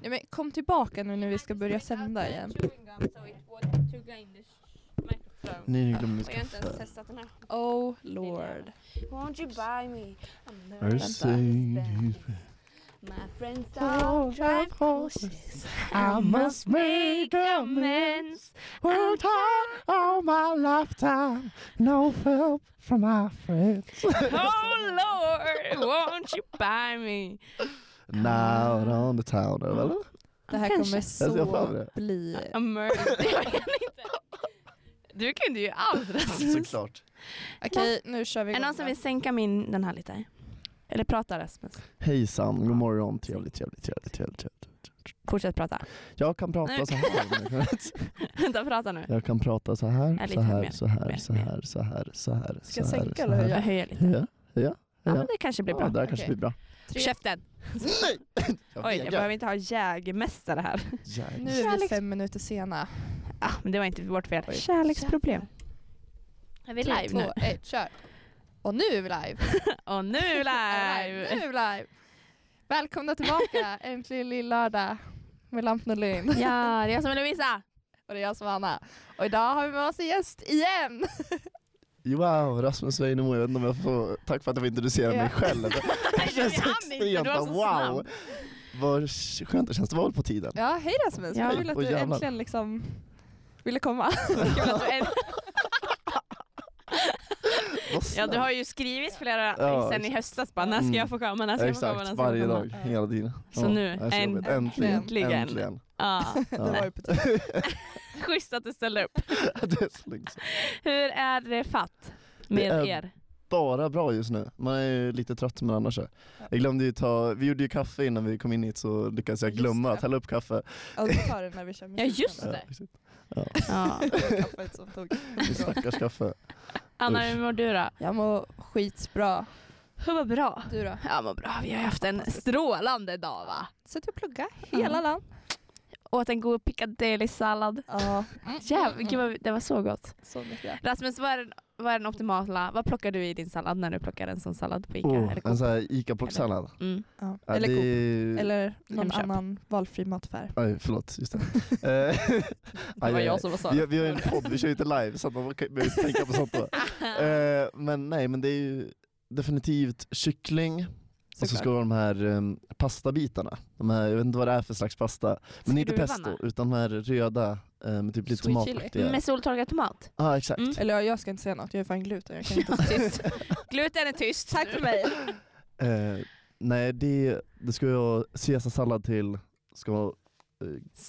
Nej, men kom tillbaka nu när vi ska börja sända igen. Nej, nu glömde vi Jag har inte ens skaffa. testat den här. Oh lord. Won't you buy me? I'm Are you nervous. saying he's My friends all drive horses. I must make amends. One time all my lifetime. No help from my friends. Oh lord, won't you buy me? Now on the town, eller? Det här Kanske. kommer ser fram så emot bli... A murder. Jag kan inte. Du kunde ju allt Rasmus. Såklart. Okej, nu kör vi Är det någon igång som då. vill sänka min den här lite? Eller prata Rasmus. Hejsan, god morgon, trevligt, trevligt, trevligt, trevligt. trevligt. Fortsätt prata. Jag kan prata Nej. så här. Vänta, prata nu. Jag kan prata så här, lite så här, mer, så här, mer, så här, så här, så här. Ska jag så här, sänka så eller här. höja? Jag höjer lite. Ja, ja. Ja, men det kanske blir Ja, bra. det här kanske Okej. blir bra. Tre- Käften! Oj, jag behöver inte ha jägmästare här. Nu Jävlar. är vi Kärleks- fem minuter sena. Ah, men det var inte vårt fel. Oj. Kärleksproblem. Är vi Tre, live nu? två, ett, kör. Och nu är vi live. Och nu är vi Nu live! är vi live. Välkomna tillbaka, äntligen lill-lördag med Lampen och Lind. Ja, det är jag som är Lovisa! Och det är jag som är Anna. Och idag har vi med oss en gäst igen. Wow, Rasmus Weinemo, jag vet inte om jag får, tack för att jag får introducera Ja. mig själv. Det Jag känns hann inte, du extremt, var så snabb. wow. Vad skönt det känns, det var väl på tiden? Ja, hej Rasmus. Ja. Ja. Kul att Åh, du jävlar. äntligen liksom ville komma. Kul att du är- Vad Ja, snällt. du har ju skrivit flera Ja, sen i exakt. höstas bara, när ska Mm. jag få komma, när ska Alltså, jag få komma, när Exakt, ska jag varje få komma. dag, hela tiden. Så Ja, nu, det är så en- jobbigt. äntligen, äntligen. äntligen. Ja, Det var Ja. ju på tiden. schysst att du ställde upp. Det är så lugnt. Hur är det fatt med Det är- er? Bara bra just nu, man är ju lite trött men annars så. Jag glömde ju ta, vi gjorde ju kaffe innan vi kom in hit så lyckades jag Just glömma det. att hälla upp kaffe. Ja, vi tar det när vi kör musik. Ja, just Ja, det. exakt. Ja. Kaffet som tog. Stackars kaffe. Anna, Usch. hur mår du då? Jag mår skitbra. Hur var bra? Du då? Jag mår bra, vi har haft en strålande dag va? Suttit och plugga hela dagen. Åt en god piccadilly-sallad. Ja, Jävlar, gud vad- det var så gott. så mycket. Rasmus, vad är, den, vad är den optimala, vad plockar du i din sallad när du plockar en sån sallad på Ica? Oh, Eller en Coop? sån här ICA-plocksallad. mm. Ja. Ja, Eller det Coop. är- Eller någon Hemköp. annan valfri mataffär. Oj, förlåt, just det. Eh, Det aj, var aj, jag aj. som var så. Vi, vi har ju en podd, vi kör ju inte live så att man kan- behöver inte tänka på sånt då. Eh, men nej, men det är ju definitivt kyckling och så Såklart. ska det vara de här um, pastabitarna. De här, jag vet inte vad det är för slags pasta. Men inte Skruvarna. Mm, pesto, utan de här röda eh, med typ lite Sweet chili. tomataktiga. Med soltorkad tomat. Ja, ah, exakt. Mm. Eller ja, jag ska inte säga något, jag är fan gluten. Jag kan inte Tyst. Gluten är tyst. Tack för mig. Eh, nej, det, det ska jag caesarsallad till, ska vara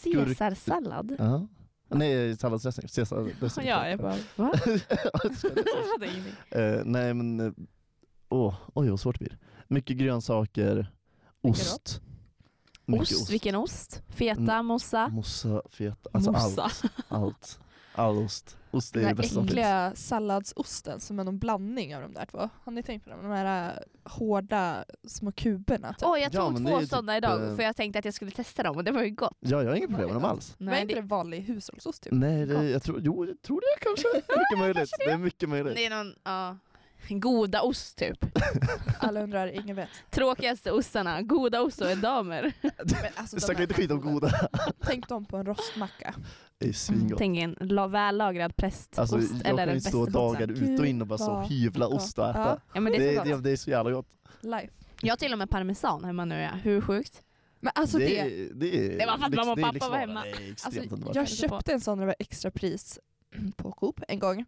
Caesarsallad? Ja. Nej, salladsdressing. Caesardressing. Ja, jag bara va? Jag fattar ingenting. Eh, nej men, eh, åh, oj vad svårt det blir. Mycket grönsaker, Mycket ost. Ost, vilken ost? Mm. Feta, mossa? Mossa, feta, alltså Mossa. allt. Allt. All ost. Ost är det Den bästa här som finns. äckliga salladsosten som är någon blandning av de där två. Har ni tänkt på dem? De här äh, hårda små kuberna. Typ. Åh, jag Ja, tog men det är två ju typ, sådana idag eh, för jag tänkte att jag skulle testa dem och det var ju gott. Ja, jag har inga problem med dem alls. Men är Nej, inte det det, vanlig hushållsost? Typ? Nej, det, Gott. jag tror, jo, jag tror det kanske. Mycket möjligt. Det är mycket möjligt. det är någon, ja. Goda ost typ. Alla undrar, ingen vet. Tråkigaste ostarna, goda ost och edamer. Men alltså, de Snacka här inte skit om goda. goda. Tänk dem på en rostmacka. Det är svingott. Tänk en la- vällagrad prästost Alltså, jag eller kan en ju stå bästa dagar ut och in och bara så vad hyvla ost och Ja, äta. Ja, men det är Det, så det, gott. det är så jävla gott. life. Jag har till och med parmesan hemma nu. Ja. Hur sjukt? Men alltså det, det, det, är- Det var för att lyx- mamma och det är pappa lyxvara. var hemma. Det är extremt alltså, underbart. jag Tänker på. köpte en sån när det var extra pris på Coop en gång.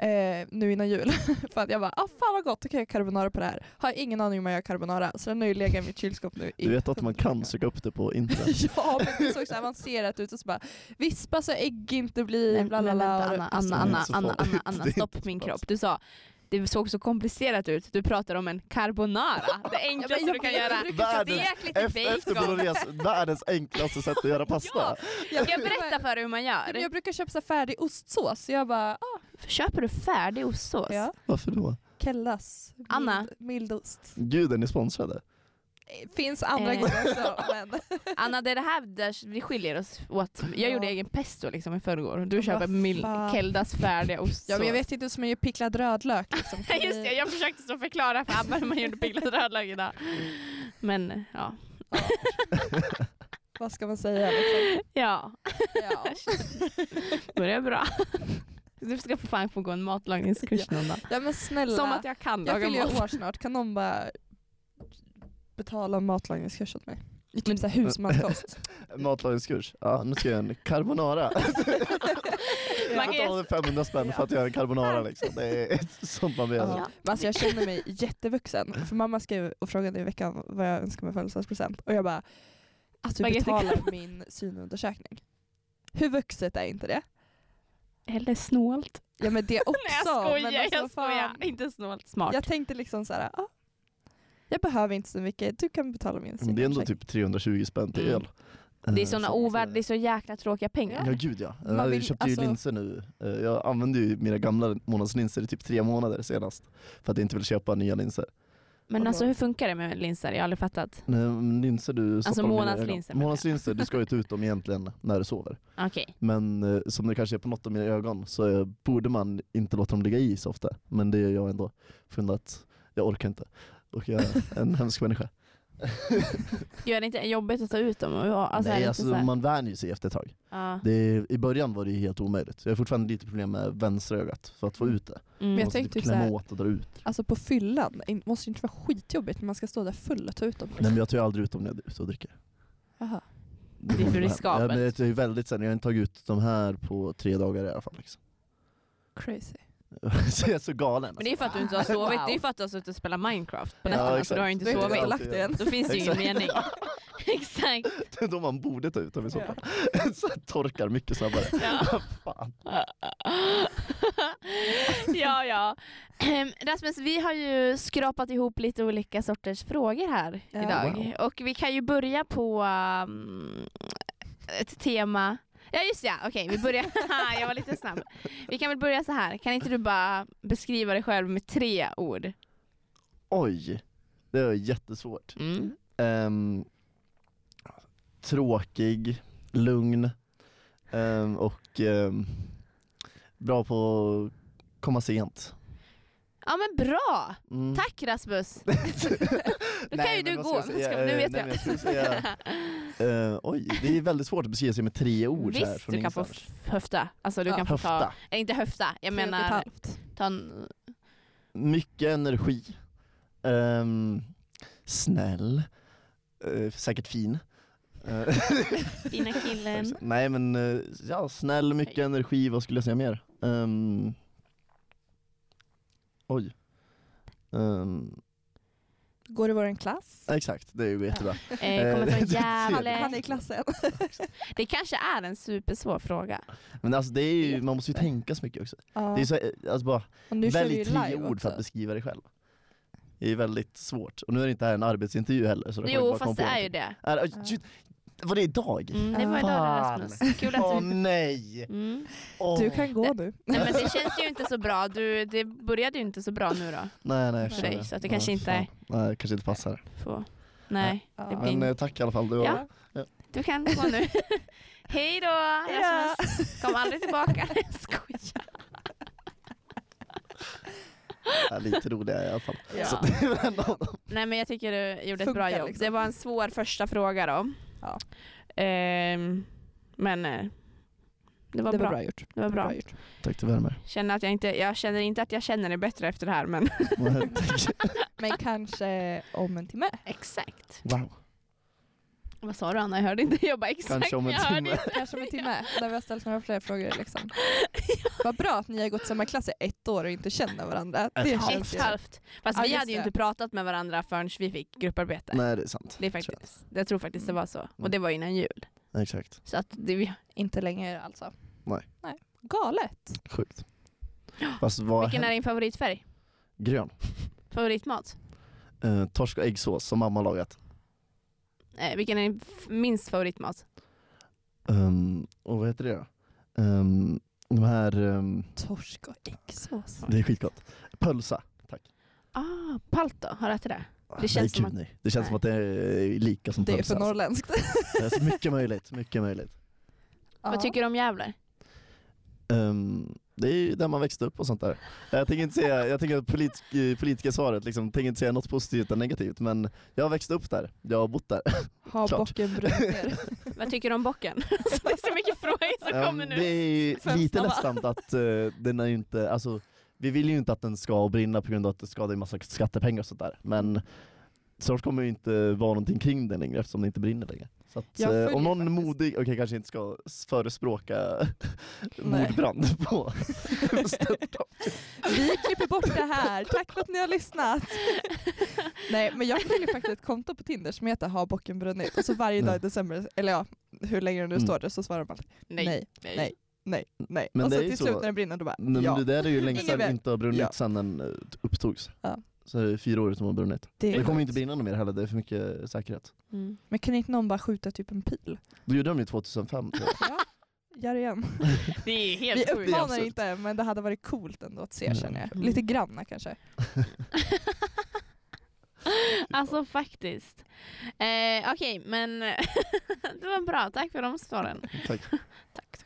Eh, nu innan jul. För att jag bara, ah, fan vad gott, då kan jag göra carbonara på det här. Har ingen aning om jag gör carbonara, så den har ju legat i mitt kylskåp nu. i Du vet att man 100 kan dagar. söka upp det på internet? Ja, men det såg så avancerat ut och så bara vispa så ägg inte blir Men, bla men bla vänta, bla. Anna, Anna, Det är Anna, alltså, inte så Anna, Anna, farligt. Det är Anna, inte stopp så min farligt. kropp. Du sa, det såg så komplicerat ut. Du pratar om en carbonara. Det enklaste jag- du kan göra. Världens- Stek lite Efter, efter bacon. bolognese, världens enklaste sätt att göra pasta. Ska jag berätta för dig hur man Nej, gör? men jag brukar köpa så här färdig ostsås, så jag bara, ah, Köper du färdig ostsås? ja. Varför då? Kellas mild, Anna. mildost. Gud, är ni sponsrade? Finns andra Eh. grejer också men Anna, det är det här där vi skiljer oss åt. Jag gjorde Ja. egen pesto liksom i förrgår. Du köper vad mil- fan. Keldas färdiga ostsås. ja, men jag vet inte som man gör picklad rödlök liksom. Nej, Just det, jag försökte så förklara för Abba hur man gjorde picklad rödlök idag. Men ja, Vad vad ska man säga? Liksom? Ja, Ja. börjar bra. Du ska för fan få gå en matlagningskurs någon dag. ja men snälla. Som att jag kan jag laga fyller ju mat. år snart, kan någon bara betala en matlagningskurs åt mig? Typ såhär husmanskost. Matlagningskurs. Ja, nu ska jag göra en carbonara. Man Jag kan ju- betalar 500 spänn för att göra en carbonara liksom. Det är sånt man blir. Ja. alltså. Men alltså jag känner mig jättevuxen. För mamma skrev och frågade i veckan vad jag önskar mig i födelsedagspresent. Och jag bara, att du Spagetti betalar min synundersökning. Hur vuxet är inte det? Eller snålt. Ja men det också. Nej jag skojar, men alltså, jag skojar. fan. Inte snålt, smart. Jag tänkte liksom såhär, ah, jag behöver inte så mycket, du kan betala min Men Det är ändå synundersökning. typ 320 spänn till Mm. öl. Det är Eh, såna så- ovärd, det är så jäkla tråkiga pengar. Ja gud ja. Eh, Man jag vill- köpte alltså- ju linser nu. Eh, Jag använde ju mina gamla månadslinser i typ tre månader senast. För att jag inte vill köpa nya linser. Men Vadå? alltså hur funkar det med linser? Jag har aldrig fattat. Nej, men linser du stoppar dem i dina månadslinser ögon. Alltså, menar jag. Månadslinser, du ska ju ta ut dem egentligen när du sover. Okej. Men eh, som det kanske är på något av mina ögon så eh, borde man inte låta dem ligga i så ofta. Men det gör jag ändå. För att jag orkar inte. Och jag är en hemsk människa. Gud är det inte jobbigt att ta ut dem? Och jag- Alltså, är Nej, det alltså, inte så här- man vänjer sig efter ett tag. Ja. Det är, I början var det ju helt omöjligt. Jag har fortfarande lite problem med vänstra ögat för att få ut det. Mm. Jag måste tänkte typ så här- klämma åt och dra ut. Alltså på fyllan, in- måste ju inte vara skitjobbigt när man ska stå där full och ta ut dem. Nej men jag tar ju aldrig ut dem när jag är ute och dricker. Jaha. är för riskabelt. Ja, men det är ju väldigt sen. Jag har inte tagit ut de här på tre dagar i alla fall. Liksom. Crazy. så jag är så galen. Alltså, Men det är för att du inte har sovit, det är ju för att du har suttit och spelat Minecraft på Ja, nätterna så exakt. du har inte Du har inte sovit. velat. velat det än. Då finns det ju ingen Exakt. mening. Exakt. Det är då man borde ta ut dem i så fall. så jag torkar mycket snabbare. Ja. Fan. ja, ja. Ehm, Rasmus, vi har ju skrapat ihop lite olika sorters frågor här Ja. idag. Wow. Och vi kan ju börja på um, ett tema. Ja just ja, okej vi börjar. Haha, jag var lite snabb. Vi kan väl börja så här. kan inte du bara beskriva dig själv med tre ord? Oj, det är jättesvårt. Mm. Ehm, tråkig, lugn ehm, och ehm, bra på att komma sent. Ja men bra! Mm. Tack Rasmus! Då kan ju Nej, men du vad ska gå. jag säga? Ska- nu Eh, vet nej, men jag. skulle säga, eh, oj, det är väldigt svårt att beskriva sig med tre ord så här Visst, från du kan få ingenstans. f- höfta. Alltså du Ja. kan få ta, Höfta. eh, inte höfta, jag Tre och ett menar halvt. ta en Mycket energi. Ehm, snäll. Eh, säkert fin. Eh, fina killen. Nej men, eh, ja snäll, mycket Hej. energi, vad skulle jag säga mer? Ehm, oj. Ehm, Går i vår klass. exakt, det är ju jättebra. Eh, kommer Eh, från det- Han, Eller- han är Gävle. i klassen. Det kanske är en supersvår fråga. Men alltså det är ju, man måste ju tänka så mycket också. Ja. Det är så, eh, alltså bara, Och nu kör vi välj ju tre live ord för att också. beskriva dig själv. Det är väldigt svårt. Och nu är det inte här en arbetsintervju heller. Så då kan man Jo bara komma fast det på är ju någonting. det. Är- oj, shit, var det idag? Mm, det var idag Fan. Rasmus. Kul att du... Åh nej! Mm. Åh. Du kan gå nu. Nej men det känns ju inte så bra. Du, det började ju inte så bra nu då. Nej nej för jag förstår dig, så att det kanske inte är- fan. Nej, kanske inte passar. Få. Nej, Ja. det blir Men inte. eh, tack i alla fall. Du Ja. Du kan gå nu. Hej då Rasmus. Kom aldrig tillbaka. Jag skojar. är lite roligare i alla fall. Ja. Så det är väl ändå- Nej men jag tycker du gjorde ett Funkar bra jobb. liksom. Det var en svår första fråga då. Ja. Ehm, men eh, det var, Det bra. var bra gjort. Det var bra. Bra gjort. Tack det värmer. Känner att jag, inte, jag känner inte att jag känner det bättre efter det här men Men kanske om en timme. exakt. wow. Vad sa du Anna? Jag hörde inte. Jag bara exakt. Kanske om en jag hörde timme. inte. Kanske om en timme, när vi har ställt några fler frågor. Liksom. Vad bra att ni har gått samma klass i ett år och inte känner varandra. Det Ett känns Ett ju... halvt. Fast Ja, vi just hade ju det. inte pratat med varandra förrän vi fick grupparbete. Nej det är sant. Det är tror Mm. faktiskt, jag tror faktiskt det var så. Och det var innan jul. jag. Exakt. Så att det, Inte längre alltså. Nej. Nej. Galet. Sjukt. Fast vad vilken är händer? din favoritfärg? Grön. Favoritmat? Eh, torsk och äggsås som mamma lagat. Eh, vilken är din f- minst favoritmat? Ehm, och vad heter det då? Ehm, de här, ehm, Torsk och äggsås. det är skitgott. Pölsa. Ah, palto, har du ätit det? Nej, känns som gud, att- nej. det känns nej. som att det är lika som Det är pölsa. för alltså. norrländskt. Det är så mycket möjligt, mycket möjligt. Ja. Vad tycker du om Gävle? Ehm, det är ju där man växte upp och sånt där. Jag tänker inte säga, jag tänker att polit, eh, politiska svaret, liksom, tänker inte säga något positivt eller negativt men jag har växt upp där, jag har bott där. Ha Klart. bocken brunner. Vad tycker du om bocken? Alltså, det är så mycket frågor som Ehm, kommer nu. det är ju Fem lite snabba. ledsamt att eh, den är ju inte, alltså, vi vill ju inte att den ska brinna på grund av att det skadar en massa skattepengar och sånt där men snart kommer det inte vara någonting kring den längre eftersom det inte brinner längre. Så att, Jag eh, följer om någon faktiskt- modig, okej kanske inte ska s- förespråka Nej. mordbrand på Störtdal. Vi klipper bort det här. Tack för att ni har lyssnat. Nej, men jag följer faktiskt ett konto på Tinder som heter Har bocken brunnit? Och så varje dag i december, eller ja, hur länge det nu Mm. står det, så svarar man nej, nej, nej. nej. nej, Men och det så är ju till så. slut när den brinner, då bara Men ja. det där är ju länge sedan Ingen den vet. inte har brunnit Ja. sedan den eh, upptogs. Ja. Så det är fyra år som har brunnit. Det Det är kommer sjukt. inte brinna något mer heller, det är för mycket eh, säkerhet. Mm. Men kan inte någon bara skjuta typ en pil? Då gjorde de det 2005 tror jag. Ja, gör det igen. Det är Vi helt sjukt. uppmanar absurt. inte, men det hade varit coolt ändå att se Mm. känner jag. Mm. Lite granna kanske. Alltså faktiskt. Eh, Okej, men det var bra. Tack för de svaren. Tack. Tack,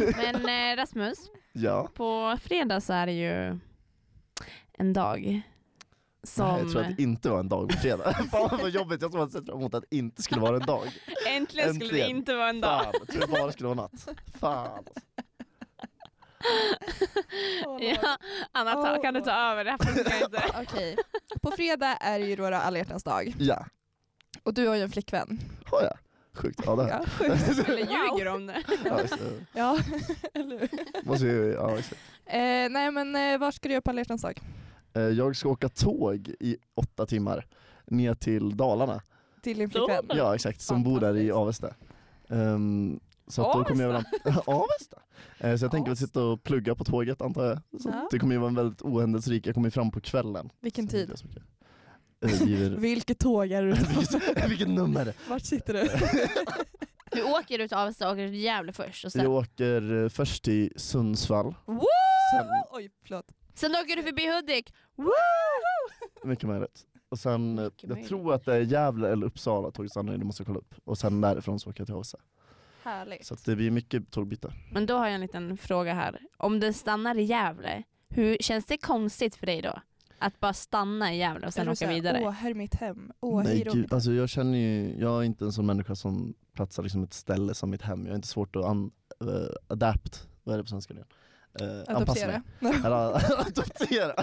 tack. Men eh, Rasmus, Ja, på fredag så är det ju en dag som... Nej, jag tror att det inte var en dag på fredag. Fan vad jobbigt, jag tror att jag sett fram emot att det inte skulle vara en dag. Äntligen skulle det Äntligen. inte vara en dag. Fan, jag tror det bara skulle vara natt. Fan. alltså. Ja, Anna, ta, kan du ta över? Det här funkar inte. Okej. På fredag är det ju då alla hjärtans dag. Ja, Och du har ju en flickvän. har jag? Sjukt. Ja, det har jag. Ja, sjukt. Eller ljuger om det. Ja, just det. Ja, eller hur? Måste ju, ja, just det. Eh, nej men eh, vad ska du göra på alla hjärtans dag? Eh, Jag ska åka tåg i åtta timmar ner till Dalarna. Till din flickvän? Ja exakt, som bor där i Avesta. Ehm, så att då kommer jag väl Avesta! Eh, så jag tänker väl sitta och plugga på tåget antar jag. Så Ja. Det kommer ju vara en väldigt ohändelserik, jag kommer ju fram på kvällen. Vilken Så tid? det är så mycket. Eh, giver- Vilket tåg är du Vilket- Vilket nummer! Vart sitter du? Du åker ut till Avesta och åker till Gävle först. Och Jag sen, åker eh, först till Sundsvall, Woo! Sen- Oj, förlåt. sen åker du förbi Hudik. mycket möjligt. Och sen, eh, Mycket jag möjligt. tror att det är Gävle eller Uppsala tåget stannar i, det måste jag kolla upp. Och sen därifrån så åker jag till Åsa. Härligt. Så att det blir mycket tågbyte. Men då har jag en liten fråga här. Om den stannar i Gävle, hur känns det konstigt för dig då? Att bara stanna i Gävle och sen åka vidare? Åh, här är mitt hem. Åh, Nej hej då. gud, alltså jag känner ju, jag är inte en sån människa som platsar liksom ett ställe som mitt hem. Jag är inte svårt att an, eh, adapt, vad är det på svenska nu? Uh, anpassa mig. Adoptera. Eller, adoptera!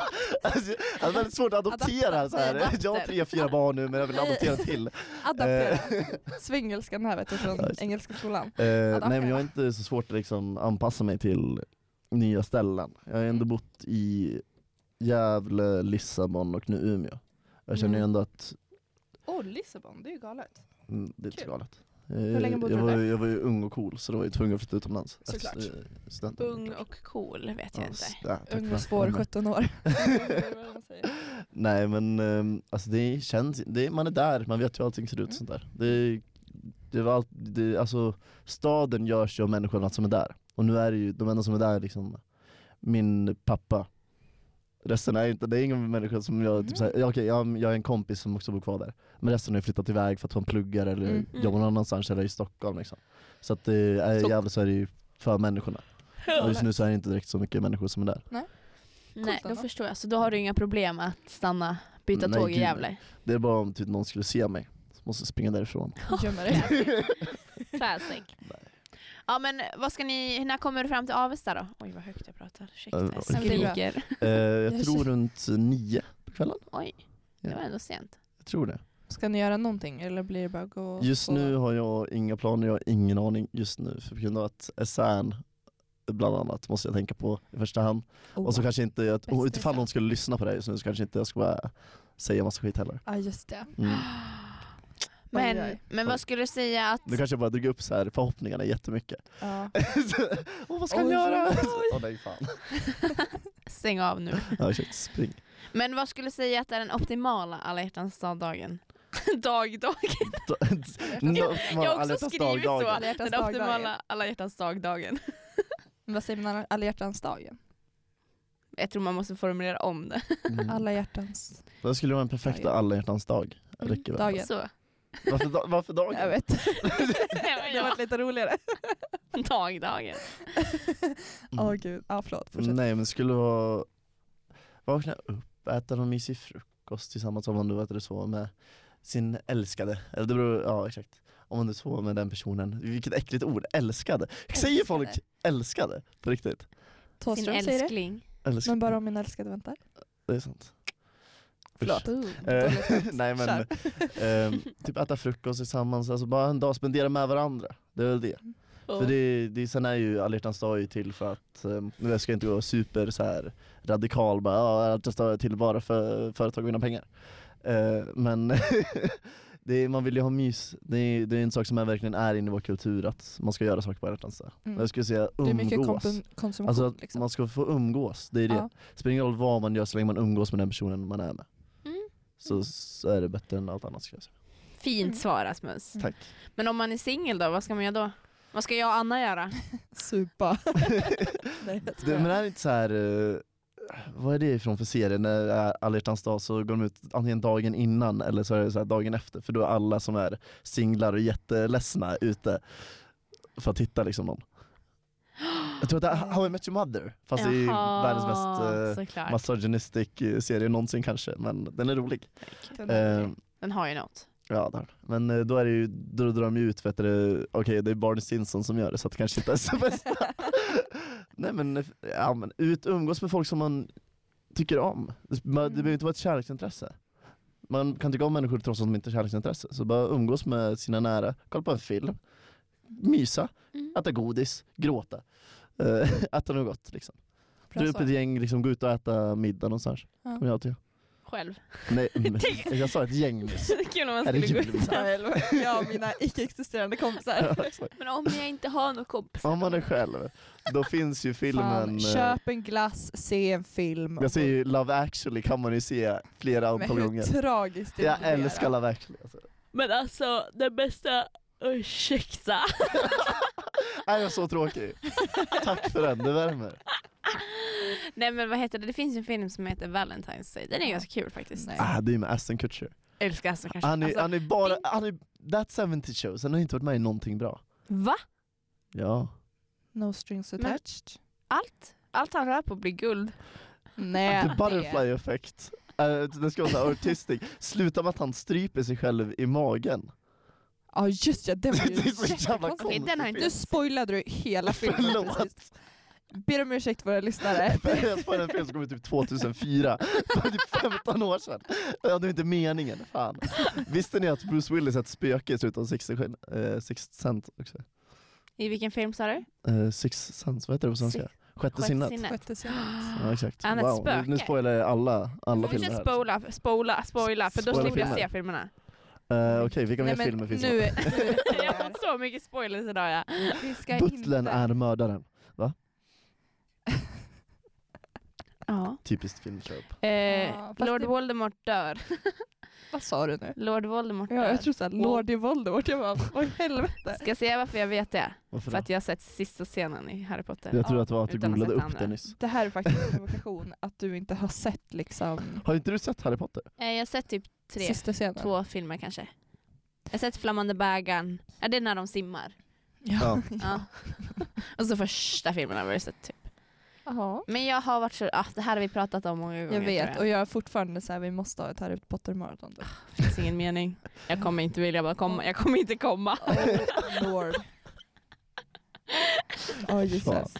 Alltså, jag har väldigt svårt att adoptera så här. Adapter. Jag har tre, fyra barn nu men jag vill adoptera till. Eh, Adaptera. Svengelskan här vet du från Ja, just det. engelska skolan. Eh, nej men jag Adaptera. är inte så svårt att liksom anpassa mig till nya ställen. Jag har Mm. ändå bott i Gävle, Lissabon och nu Umeå. Jag känner ju Mm. ändå att Åh, oh, Lissabon, det är ju galet. Mm, Det är inte Kul. så galet. Eh, Hur länge bodde jag, du var, där? ju- jag var ju ung och cool så då var jag tvungen att flytta utomlands. efter Såklart. stu- studenten. Ung och cool vet jag Ja, inte. s- ja, tack Ung för- och svår, ja, men- 17 år. Nej men ehm, alltså det känns, det, man är där, man vet ju hur allting ser ut Mm. sånt där. Det, det var allt, det, alltså staden görs ju av människorna som är där. Och nu är det ju, de enda som är där är liksom min pappa. Resten är ju inte, det är ingen människa som jag, Mm. typ såhär, ja, okej jag, jag är en kompis som också bor kvar där. Men resten har ju flyttat iväg för att de pluggar eller Mm. jobbar någon annanstans eller i Stockholm liksom. Så att det är Så- jävligt så är det ju för människorna. Och just Galet. nu så är det inte direkt så mycket människor som är där. Nej, då Anna. förstår jag. Så då har du inga problem att stanna, byta Nej, tåg i gud. Gävle? Det är bara om typ någon skulle se mig, så måste jag springa därifrån. Gömma dig. Classic. Ja men vad ska ni, när kommer du fram till Avesta då? Oj vad högt jag pratar, Eh, ursäkta. Jag oj. skriker. Eh, jag Jag tror känner- runt nio på kvällen. Oj, det var ändå sent. Jag tror det. Ska ni göra någonting eller blir det bara gå och Just sova? nu har jag inga planer, jag har ingen aning just nu. För på grund av att essän bland annat måste jag tänka på i första hand. Oh. Och så kanske inte, jag, och Bäst utifall essän. någon skulle lyssna på det här just nu så kanske inte jag ska bara säga massa skit heller. Ja, just det. Mm. Men, Oj, oj. men vad skulle du säga att... Nu kanske jag bara drog upp så här förhoppningarna jättemycket. Ja. Så, Åh vad ska han Oj, göra? oj, Åh nej fan. Stäng av nu. Ja, shit, spring. Men vad skulle du säga att är den optimala alla hjärtans dag-dagen? dag, dag. Jag har också skrivit så. Alla hjärtans Den dag-dagen. optimala alla hjärtans dag-dagen. Men vad säger man alla hjärtans dagen? Jag tror man måste formulera om det. Mm. Alla hjärtans Det skulle vara den perfekta alla hjärtans Mm, dag. Räcker väl? dagen. Så. Varför, da- varför dagen? Jag vet. Nej, men Det jag- har varit lite roligare. Dagdagen. Åh gud, ja förlåt. Fortsätt. Mm. Nej men skulle vara vakna upp, äta någon mysig frukost tillsammans om man nu vet det så med sin älskade. Eller det beror, ja exakt. Om man nu sover med den personen. Vilket äckligt ord, älskade. Säger folk älskade på riktigt? Sin Thåström säger det. älskling. Älskade. Men bara om min älskade väntar. Det är sant. Förlåt. Eh, Dåligt skämt. Nej men, Kör. ehm, typ äta frukost tillsammans, alltså bara en dag spendera med varandra. Det är väl det. För det, det, sen är ju alla hjärtans dag är ju till för att, um, jag ska inte gå super så här radikal bara, ja alla hjärtans dag är till bara för företag vinner pengar. Eh, men det, är- man vill ju ha mys, det är, det är en sak som är verkligen är inne i vår kultur att man ska göra saker på alla hjärtans dag. Mm. Jag skulle säga Det är mycket umgås. konsum- konsumtion. Alltså att liksom. man ska få umgås, det är det. Ja. Spelar ingen roll vad man gör så länge man umgås med den personen man är med. Mm. Så, så är det bättre än allt annat skulle jag säga. Mm. Fint svar Rasmus. Mm. Tack. Men om man är singel då, vad ska man göra då? Vad ska jag och Anna göra? Supa. Nej, jag Det, skojar. men det här är inte så här. eh, vad är det ifrån för serie? När det är alla hjärtans dag så går de ut antingen dagen innan eller så är det så här dagen efter. För då är alla som är singlar och jätteledsna ute för att hitta liksom någon. Jag tror att det är How I Met Your Mother, fast det är ju Jaha, världens mest såklart. eh, misogynistic eh, serie någonsin kanske. Men den är rolig. Den Eh, Den har ju något. Ja, där. Men eh, då är det ju, då drar de ju ut, vet du, okej det är Barney Stinson som gör det så att det kanske inte är så bästa. Nej men, eh, ja, men ut, umgås med folk som man tycker om. Det man- det Mm. behöver inte vara ett kärleksintresse. Man kan tycka om människor trots att de inte är kärleksintresse. Så bara umgås med sina nära, kolla på en film, mysa, Mm. äta godis, gråta. Eh, äta något gott liksom. Bra Dra upp svar. ett gäng, liksom, gå ut och äta middag någonstans. Ja. Kommer jag till. Själv. Nej, men, jag sa ett gäng nyss. Kul om man Är det skulle gå jul? ut. Nej, eller- Jag och mina icke-existerande kompisar. Ja, exakt. Men om jag inte har någon kompis. Om man är själv, då finns ju filmen... Fan, eh, köp en glass, se en film. jag ser ju Love actually kan man ju se flera Men antal hur gånger. tragiskt det Jag blir. älskar Love actually. Alltså. Men alltså den bästa, ursäkta. Nej, jag är så tråkig. Tack för den, det värmer. Nej men vad heter det, det finns ju en film som heter Valentine's Day. Den är ganska kul faktiskt. Nej. Ah, det är med Aston Kutcher. Älskar alltså kanske. Han är, alltså, han är bara... fin- Han är, that 70 shows, han har inte varit med i någonting bra. Va? Ja. No strings Men- attached. Allt? Allt han rör på blir guld. Nej. The butterfly effect. Eh, det ska vara såhär artistic. Sluta med att han stryper sig själv i magen. Ja just ja, den var ju Det är så jättekonstig. jävla konstigt. Okej den har jag Nu inte... spoilade du hela filmen Förlåt. precis. Ber om ursäkt våra lyssnare. Jag spelade en film som kom ut typ 2004, för typ 15 år sedan. Ja, det var inte meningen, fan. Visste ni att Bruce Willis är ett spöke i slutet av Sixth eh, Sixth Sense också? I vilken film sa du? Eh, Sixth Sense, vad heter det på svenska? Sixth- Sjätte Sjätte sinnet? sinnet. Sjätte scenen. Ja, exakt. Han är ett Wow, nu- nu spöke. spoilar jag alla, alla Men vi filmer ska här. alltså. spoila, spoila, spoila för då Spoila slipper jag filmer. se filmerna. Eh, Okej, vilka Nej, mer men filmer finns nu, det? Jag har fått så mycket spoilers idag ja. Vi ska Butlern inte... är mördaren. ja. Typiskt filmköp. Eh, Ja, fast Lord det- Voldemort dör. Vad sa du nu? Lord Voldemort Ja, dör. jag tror såhär, Lord i Voldemort. Jag bara, vad i helvete? Ska jag säga varför jag vet det? Varför För då? att jag har sett sista scenen i Harry Potter. Jag tror att det var att du Utan att ha googlade sett upp det andra. nyss. Det här är faktiskt en provokation, att du inte har sett liksom Har inte du sett Harry Potter? Eh, jag har sett typ tre, sista scenen. två filmer kanske. Jag har sett Flammande bägaren, ja, det är när de simmar. Ja. Ja. Och så första filmen har jag bara sett typ. Jaha. Men jag har varit så, ah, det här har vi pratat om många gånger Jag vet, tror och jag är fortfarande såhär, vi måste ha ett Harry Potter-maraton. typ. Det finns ingen mening. Jag kommer inte vilja bara komma, jag kommer inte komma. Oh lord. Oh Jesus.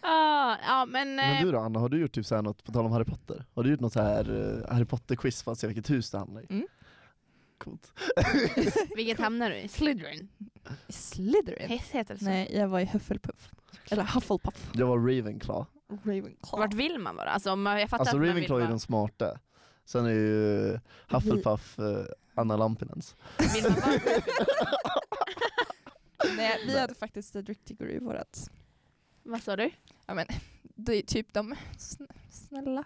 ah, ja men, Men eh, du då Anna, har du gjort typ så här något, på tal om Harry Potter, har du gjort något så här eh, Harry Potter-quiz för att se vilket hus det hamnar i? Mm. Coolt. vilket hamnar du i? Slytherin? Slytherin? Hes- Heter det så? Nej, jag var i Hufflepuff. Eller Hufflepuff. Jag var Ravenclaw. Ravenclaw. Vart vill man vara? Alltså, om- jag fattar Alltså att man vill Ravenclaw är vara- den smarta. Sen är ju Hufflepuff eh, Anna Lampinens. Vill man vara Nej, vi hade faktiskt Cedric Diggory i vårat. Vad sa du? Ja men, det är typ de sn- snälla.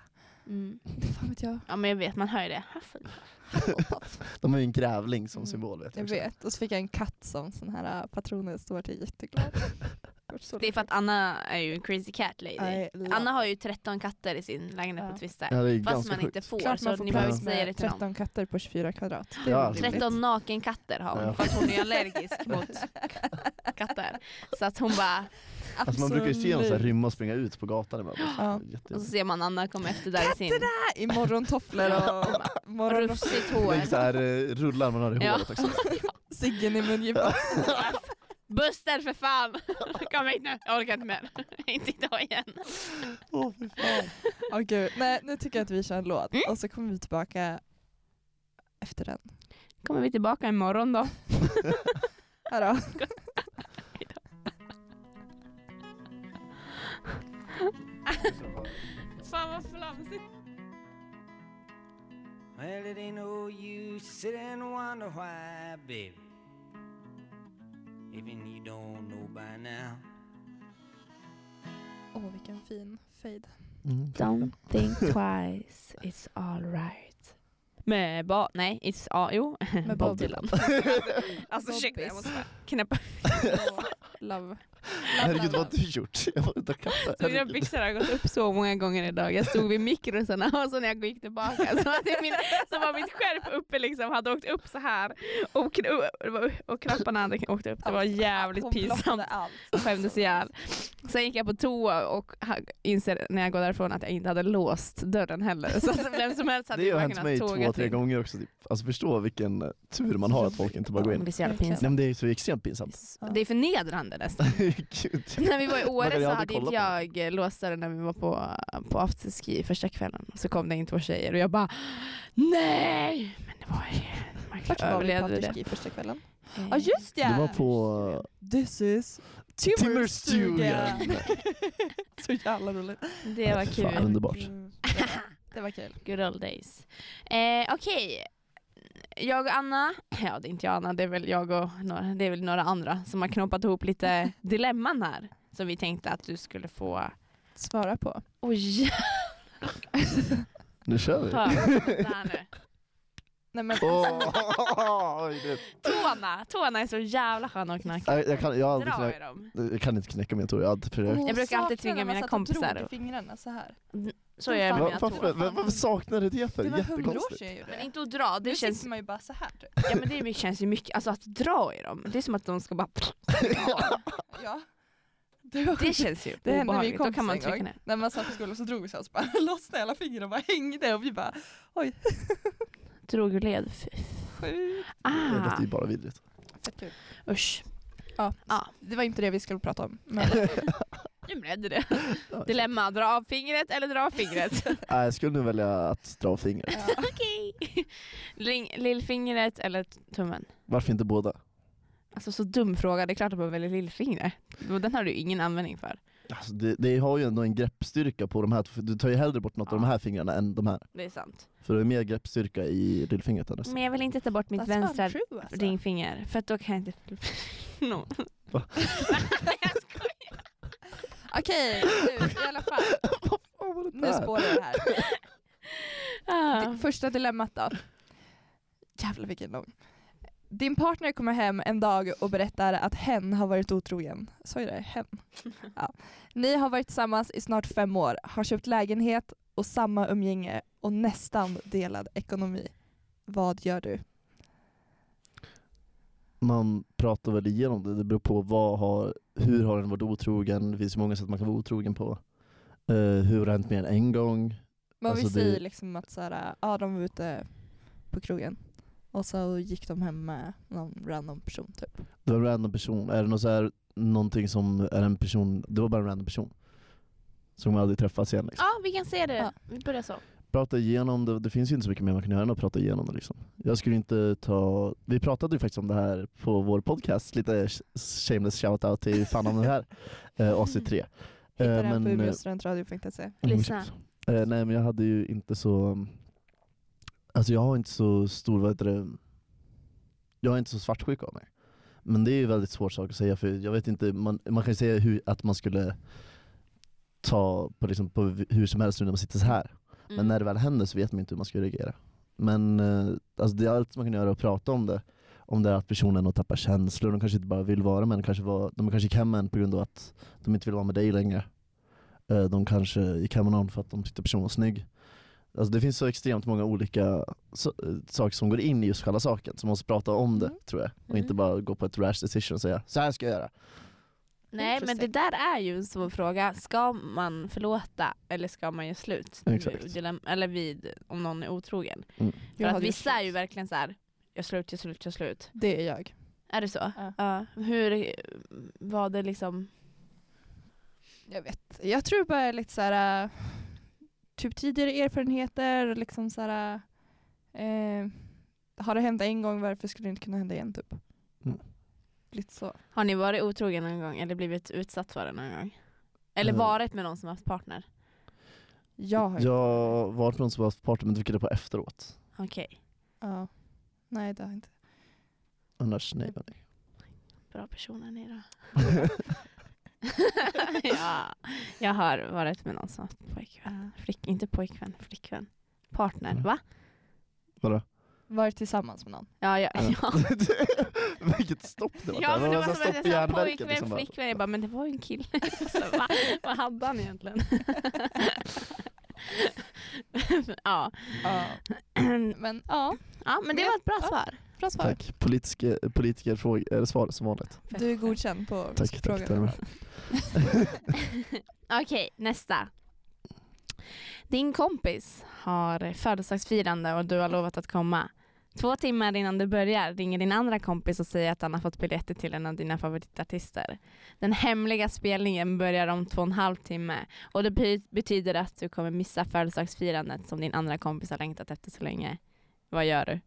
Fan vet jag. Mm. Ja men jag vet, man hör ju det. Hufflepuff. De har ju en grävling som Mm. symbol vet Jag också. vet. Och så fick jag en katt som sån här äh, patroner står till jätteglad. varit så Det är för att Anna är ju en crazy cat lady. I Anna har ju 13 katter i sin lägenhet Ja. på Twister. Ja, det är Fast ganska man inte sjukt. får, Klart man så får ni behöver plats inte säga det med till någon. 13 katter på 24 kvadrat. Det är Ja, väl alltså. rimligt. 13 nakenkatter har hon Ja. för att hon är allergisk mot katter. Så att hon bara, Alltså man brukar ju se dem så här rymma och springa ut på gatan ibland. Ja. Jätte- och så ser man Anna komma efter där i sin Äh, I morgontofflor och morgon... rufsigt Det är hår. så här eh, rullar man har i Ja. håret också. Ciggen i mungipan. Buster för fan! Kom hit nu, jag orkar inte mer. Inte idag igen. Åh fy fan. Åh gud. Nej, nu tycker jag att vi kör en låt Mm. och så kommer vi tillbaka efter den. Kommer vi tillbaka imorgon då? Här då. Fan vad flamsigt. Well, it ain't no use sitting and wonder why, baby. Even you don't know by now. Åh, vilken fin fade. Mm, Don't think twice, it's alright. Med ba... Nej, it's... Ah, jo. Mm. Med Bob Dylan. Alltså Bobbys. ursäkta, jag måste bara knäppa. Love. Herregud vad har du gjort? Jag var utan katter. Så Mina herregud. byxor har gått upp så många gånger idag. Jag stod vid mikrosarna och så när jag gick tillbaka så, hade min, så var mitt skärp uppe liksom, hade åkt upp så här och, kn- och knapparna hade åkt upp. Det var jävligt Hon blottade pinsamt. allt. Jag skämdes ihjäl. Sen gick jag på toa och ha- inser när jag går därifrån att jag inte hade låst dörren heller. Så att vem som helst hade Det har bara hänt kunnat mig tåga två, tre till. gånger också. Typ. Alltså förstå vilken eh, tur man har att folk inte bara går Ja, in. men Nej Det är så Verkligen. jävla pinsamt. men det är ju så extremt pinsamt. Det är förnedrande nästan. Gud. när vi var i Man kan Åre ju så aldrig hade kolla inte på det. jag eh, låst dörren när vi var på, på afterski första kvällen. Så kom det in två tjejer och jag bara nej! Men det var ju... Man Vart var vi på överlevde det. afterski första kvällen? Eh, Ja just ja! Det var på This is Timmerstugan. Timmerstugan. Så jävla roligt. det var Fan, kul. underbart. Mm, det var- Det var kul. Good old days. Eh, Okej. Jag och Anna, ja det är inte jag och Anna, det är väl jag och några, det är väl några andra som har knoppat ihop lite dilemman här. Som vi tänkte att du skulle få... Svara på. Oj! Nu kör vi. ta det här nu. Nej, men, Åh, oj, det- Tårna! Tårna är så jävla sköna att knacka. Nej, jag, kan, jag, har aldrig Dra i knä- dem. jag kan inte knäcka min tår, jag har aldrig försökt. Åh, Jag brukar alltid saknar tvinga när man mina satt och kompisar drog i och- fingrarna så här. Så gör jag Fan, med Va- mina varför, tår. tår. var- varför saknar du det för? Det var hundra år Jättekonstigt. sedan jag gjorde Men det. inte att dra, det Nu känns, sitter man ju bara så här. typ. ja, men det är- känns ju mycket, alltså att dra i dem, det är som att de ska bara, Ja. Det, var det sjukt. känns ju Det hände min obehagligt, då kompis kan man en trycka gång. ner. När man satt i skolan så drog vi så här och så bara lossnade alla fingrar och bara hängde och vi bara oj, Drog ur led, Fy. sjukt. Det ah, låter ju bara vidrigt. Fett kul. usch. Ja, Ja. det var inte det vi skulle prata om. Men Nu blev det det. Dilemma, dra av fingret eller dra av fingret. Nej, jag skulle nu välja att dra fingret. ja. Okej. Ling- Lillfingret eller t- tummen? Varför inte båda? Alltså så dum fråga, det är klart att man väljer lillfingret. Och Den har du ingen användning för. Alltså, det, det har ju ändå en greppstyrka på de här, för du tar ju hellre bort något av de här fingrarna än de här. Det är sant. För det är mer greppstyrka i lillfingret än resten. Men jag vill inte ta bort mitt That's vänstra untrue, alltså. ringfinger för att då kan jag inte... no. Va? jag skojar. Okej, nu, i alla fall. Nu Äh. spårar det här. Det Ah. Första dilemmat då. Jävlar vilken lång. Din partner kommer hem en dag och berättar att hen har varit otrogen. Så är det, hen. Ja. Ni har varit tillsammans i snart fem år, har köpt lägenhet och samma umgänge och nästan delad ekonomi. Vad gör du? Man pratar väl igenom det, det beror på vad har, hur har den varit otrogen, det finns ju många sätt man kan vara otrogen på. Eh, hur har det hänt mer än en gång? Men om vi Alltså, det- säger liksom att så här, ja, de var ute på krogen och så gick de hem med någon random person Äh, typ. Det var en random person. Är det något så här, någonting som är en person, det var bara en random person. Som man aldrig träffats igen. Liksom. Ja, vi kan säga det. Ja. Vi börjar så. Prata igenom det, det finns ju inte så mycket mer man kan göra än att prata igenom det. Liksom. Jag skulle inte ta, vi pratade ju faktiskt om det här på vår podcast, lite sh- shameless shoutout till fan om det här, eh, AC3. Eh, Hittade den på men, eh, umeåstudentradio.se. Lyssna. Eh, nej men jag hade ju inte så, mm, alltså jag har inte så stor, vad heter det, jag är inte så svartsjuk av mig. Men det är ju väldigt svårt sak att säga för jag vet inte, man, man kan ju säga hur, att man skulle ta på, liksom, på hur som helst nu när man sitter så här. Men Mm. när det väl händer så vet man inte hur man ska reagera. Men eh, alltså det är allt man kan göra är att prata om det om det är att personen har tappat känslor, de kanske inte bara vill vara med en, kanske var, de kanske gick hem med en på grund av att de inte vill vara med dig längre. Eh, De kanske gick hem med någon för att de tyckte personen var snygg. Alltså det finns så extremt många olika so- eh, saker som går in i just själva saken, så man måste prata om det Mm. tror jag. Och inte Mm. bara gå på ett rash decision och säga så här ska jag göra. Nej men det Interesting. där är ju en svår fråga. Ska man förlåta eller ska man göra slut? Exakt. Vid dilem- Eller vid, om någon är otrogen. Mm. För Jag att hade gjort vissa är ju slut. verkligen så här. gör slut, gör slut, gör slut. Det är jag. Är det så? Ja. Hur var det liksom? Jag vet. Jag tror bara lite så här, äh, typ tidigare erfarenheter, liksom så här, äh, har det hänt en gång, varför skulle det inte kunna hända igen typ? Mm. Lite så. Har ni varit otrogen någon gång eller blivit utsatt för det någon gång? Eller Eh. varit med någon som haft partner? Jag har Jag har varit med någon som har haft party men fick reda på efteråt. Okej, Ja. Nej det har jag inte. Annars nej. Mm. men nej. bra personer ni då. ja, jag har varit med någon som haft pojkvän. Flick, inte pojkvän, flickvän. Partner, Mm. va? Vadå? Varit tillsammans med någon. Ja, ja. ja. Vilket stopp det var. Ja men det var så här som att jag i sa hjärnverket, pojkvän, liksom bara. flickvän. Jag bara, men det var ju en kille. Så, va, vad hade han egentligen? ja. Ja. Men ja, ja, men det var ett bra Ja. svar. bra svar. Tack. Politiske, eh, politikerfrågor, är det svar som vanligt? Du är godkänd på Tack, tack, frågan. Thelma. Okej, nästa. Din kompis har födelsedagsfirande och du har lovat att komma. Två timmar innan du börjar ringer din andra kompis och säger att han har fått biljetter till en av dina favoritartister. Den hemliga spelningen börjar om två och en halv timme och det bety- betyder att du kommer missa födelsedagsfirandet som din andra kompis har längtat efter så länge. Vad gör du?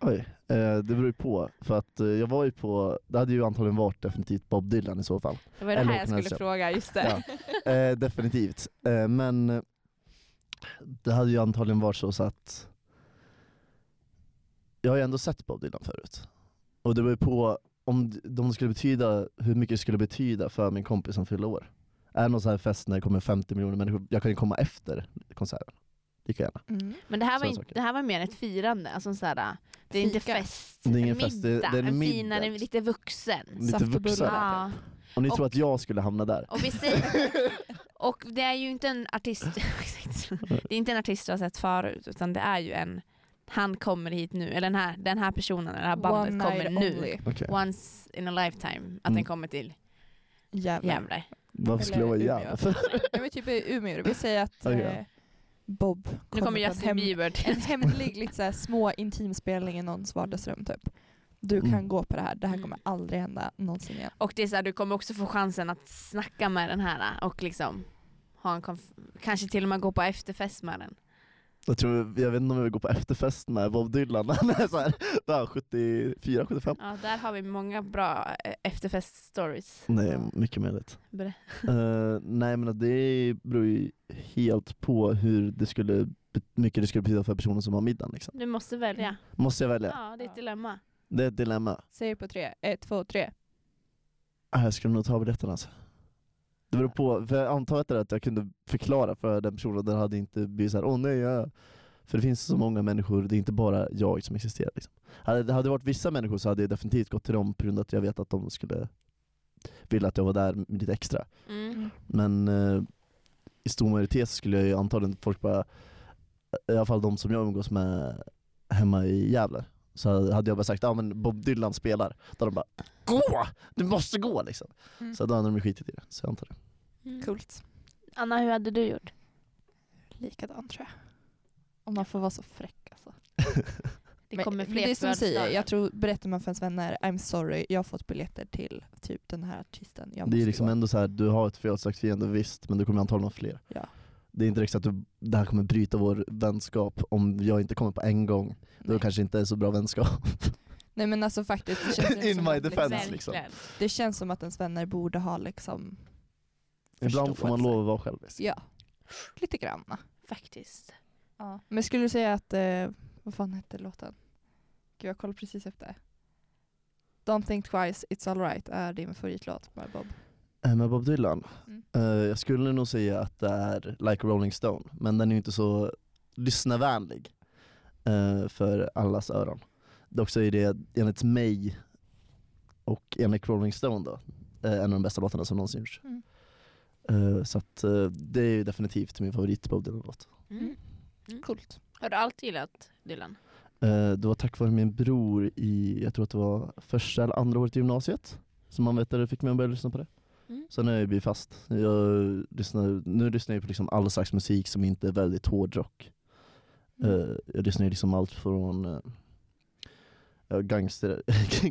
Oj, eh, det beror ju på. För att eh, jag var ju på, det hade ju antagligen varit definitivt Bob Dylan i så fall. Det var det Eller här jag Håkan skulle Hellström. fråga, just det. Ja. Eh, definitivt. Eh, men eh, det hade ju antagligen varit så, så att jag har ju ändå sett Bob Dylan förut. Och det var ju på om d- de skulle betyda, hur mycket det skulle betyda för min kompis som fyller år. Är det någon sån här fest när det kommer 50 miljoner människor, jag kan ju komma efter konserten. Lika gärna. Mm. Men det här, var Sådana inte, saker. det här var mer ett firande, alltså såhär, det är inte Fika. fest. Det är ingen en fest, det är- det är en en middag. finare, lite vuxen. Lite Saft och vuxen. bullar. Ja. Om ni Och- tror att jag skulle hamna där. Och, vi säger, och det är ju inte en artist exakt. Det är inte en artist du har sett förut, utan det är ju en han kommer hit nu, eller den här, den här personen, eller det här bandet One kommer night nu. only. Okej. Once in a lifetime, att Mm. den kommer till Jävlar. Gävle. Varför skulle jag vara Eller jävla för? Nej, men typ i Umeå, vi säger att Okej. eh, Bob Nu på kommer en Justin hem- Bieber till. en hemlig lite så här, små intimspelning i någons vardagsrum typ. Du kan Mm. gå på det här, det här Mm. kommer aldrig hända någonsin igen. Och det är så här, du kommer också få chansen att snacka med den här och liksom ha en konf- kanske till och med gå på efterfest med den. Jag, tror, jag vet inte om jag vill gå på efterfest med Bob Dylan när han är så här, där 74, 75. Ja, där har vi många bra eh, efterfest-stories. Nej, mycket möjligt. Ber- Eh, nej men det beror ju helt på hur det skulle, be- mycket det skulle betyda för personen som har middagen. Liksom. Du måste välja. Måste jag välja? Ja, det är ett dilemma. Det är ett dilemma. Säger på tre, ett, två, tre. Ah, Jag skulle nog ta biljetten alltså. Det beror på, för jag antar att det är att jag kunde förklara för den personen, den hade inte blivit såhär åh nej, ja. för det finns så många människor, det är inte bara jag som existerar. Liksom. Hade det hade varit vissa människor så hade jag definitivt gått till dem på grund av att jag vet att de skulle vilja att jag var där lite extra. Mm. Men eh, i stor majoritet skulle jag ju antagligen folk bara, i alla fall de som jag umgås med hemma i Gävle, så hade jag bara sagt ja ah, men Bob Dylan spelar. Då hade de bara gå! Du måste gå liksom. Mm. Så då hade de ju skitit i det. Så jag antar det. Mm. Coolt. Anna, hur hade du gjort? Likadant tror jag. Om man får vara så fräck alltså. Det Men kommer fler det är som du säger, födelsedagar. jag tror, berättar man för ens vänner, I'm sorry, jag har fått biljetter till typ den här artisten. Jag Det är måste liksom gå." ändå så här, du har ett födelsedagsfirande visst, men du kommer antagligen ha fler. Ja. Det är inte direkt så att du, det här kommer bryta vår vänskap om jag inte kommer på en gång. Då Nej. kanske inte är så bra vänskap. Nej men alltså faktiskt, det känns, ju In som my att liksom- defense, liksom. Verkligen. det känns som att ens vänner borde ha liksom Ibland får man förståelse. lov att vara självisk. Ja, lite grann. Faktiskt. Men skulle du säga att, eh, vad fan hette låten? Gud jag kollade precis efter. Don't think twice, it's alright är din favoritlåt med Bob. Eh, Med Bob Dylan? Mm. Eh, jag skulle nog säga att det är Like a Rolling Stone, men den är ju inte så lyssnarvänlig eh, för allas öron. Dock så är det enligt mig och enligt Rolling Stone då, eh, en av de bästa låtarna som någonsin gjorts. Mm. Eh, Så att eh, det är ju definitivt min favorit Bob Dylan-låt. Mm. Coolt. Har du alltid gillat Dylan? Eh, Det var tack vare min bror i, jag tror att det var första eller andra året i gymnasiet, som han vet det fick mig att börja lyssna på det. Mm. Sen har jag ju blivit fast. Jag lyssnar, nu lyssnar jag på liksom all slags musik som inte är väldigt hårdrock. Mm. Eh, jag lyssnar ju liksom allt från uh, gangster...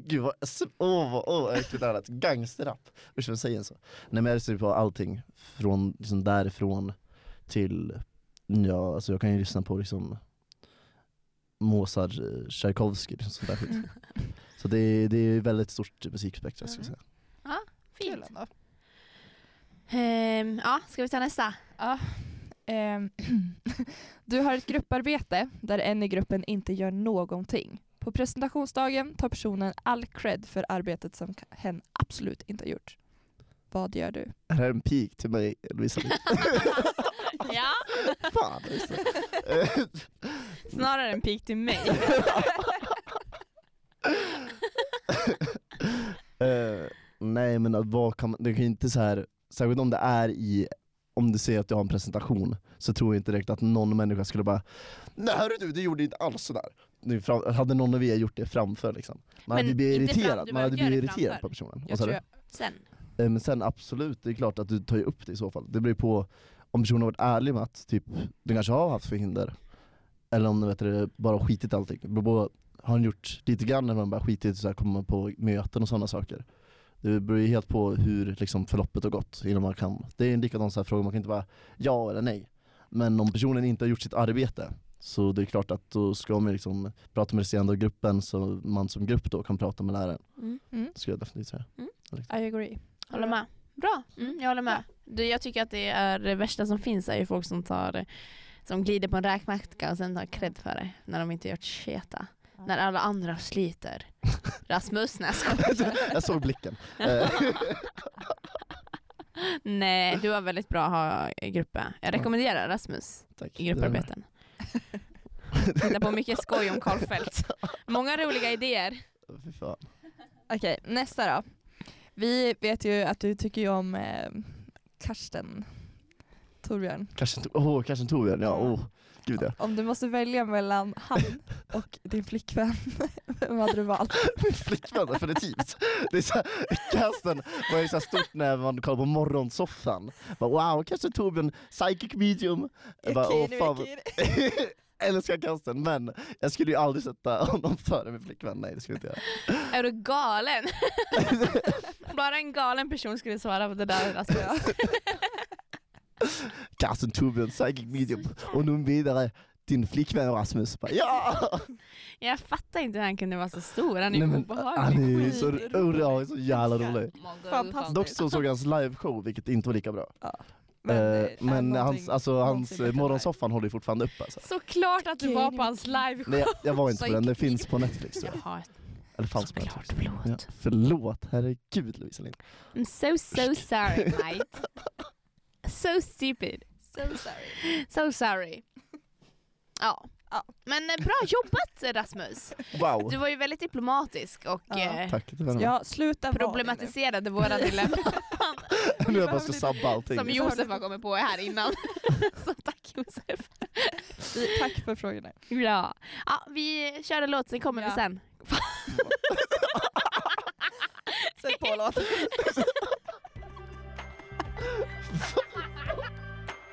Gud vad, s- åh vad åh, vad äckligt det här lät. Gangsterrap. Usch vem säger så? Nej men jag lyssnar ju på allting. Från liksom därifrån till, ja alltså jag kan ju lyssna på liksom Mozart, eh, Tchaikovsky liksom sånt där skit. Mm. Så det är, det är ett väldigt stort musikspektra ska jag säga. Kul Fint. ändå. Ehm, ja, ska vi ta nästa? Ja. Ehm, Du har ett grupparbete där en i gruppen inte gör någonting. På presentationsdagen tar personen all cred för arbetet som k- hen absolut inte har gjort. Vad gör du? Är det här en pik till mig Lovisa? ja. Fan Lovisa. Eh, Snarare en pik till mig. Eh, nej men att vad kan man, det kan ju inte så här, särskilt om det är i, om du säger att du har en presentation, så tror jag inte direkt att någon människa skulle bara Nej hörru du, det gjorde inte alls sådär. Nu fram, hade någon av er gjort det framför liksom. Man Men hade ju blivit inte fram- irriterad, du man hade behöver blivit göra det irriterad framför. på personen. Jag Vad sa tror du? jag, Sen. Eh, Men sen absolut, det är klart att du tar ju upp det i så fall. Det beror ju på om personen har varit ärlig med att typ, den kanske har haft förhinder. Eller om den vet du, bara har skitit i allting. Det beror på, har han gjort lite grann eller har han bara skitit och så här, kommer på möten och sådana saker. Det beror ju helt på hur liksom, förloppet har gått innan man kan. Det är en likadan så här fråga, man kan inte bara ja eller nej. Men om personen inte har gjort sitt arbete så det är klart att då ska man ju liksom prata med resterande av gruppen så man som grupp då kan prata med läraren. Mm. Det skulle jag definitivt säga. I agree. Håller med. Bra, mm, jag håller med. Du, jag tycker att det är det värsta som finns är ju folk som tar som glider på en räkmacka och sen tar cred för det när de inte gjort sketa. När alla andra sliter. Rasmus, nej jag skojar. jag såg blicken. Eh, Nej, du var väldigt bra att ha i gruppen. Jag rekommenderar Rasmus Tack. i grupparbeten. Hitta på mycket skoj om Carl Felt. Många roliga idéer. Fy fan. Okej, nästa då. Vi vet ju att du tycker ju om eh, Karsten Torbjörn. Kanske, oh, kanske Torbjörn, ja. Oh. Gud ja. Om du måste välja mellan han och din flickvän, vem hade du valt? Min flickvän definitivt. Det är så här, casten var ju så här stort när man kollade på morgonsoffan. Bara, wow, kanske Torbjörn, psychic medium. Jag bara, åh, fan. vad- Älskar casten, men jag skulle ju aldrig sätta honom före min flickvän. Nej det skulle jag inte göra. Är du galen? Bara en galen person skulle svara på det där Rasmus. Casten Torbjörn, psychic medium. Och nu vidare, din flickvän Rasmus. Bara, ja! Jag fattar inte hur han kunde vara så stor, han är Nej, ju men obehaglig. Han är ju så, Skitrolig. oh, ja, så jävla rolig. Fantastisk. Dock så såg jag hans liveshow vilket inte var lika bra. Men, eh, men någonting- hans, alltså, någonting hans bättre än morgonsoffan håller ju fortfarande upp alltså. Såklart att du Okej, var nu- på hans live Nej jag, jag var inte på den, det Psychic finns på Netflix tror jag. Jaha, Eller fanns på Netflix. såklart, förlåt. Ja, förlåt, herregud Lovisa Lind. I'm so so sorry mate. So stupid. det här. So sorry. So sorry. Ja. Ja. Men eh, bra jobbat Rasmus! Wow! Du var ju väldigt diplomatisk och Ja. eh, Tack, det var ja, Ja, sluta problematiserade våra dilemman Nu jag bara ska sabba allting. liksom. som Josef har kommit på här innan. Så tack Josef. vara nu. Tack för frågorna. Ja. ja vi kör en låt, sen kommer vi Ja. sen. Sätt på låten.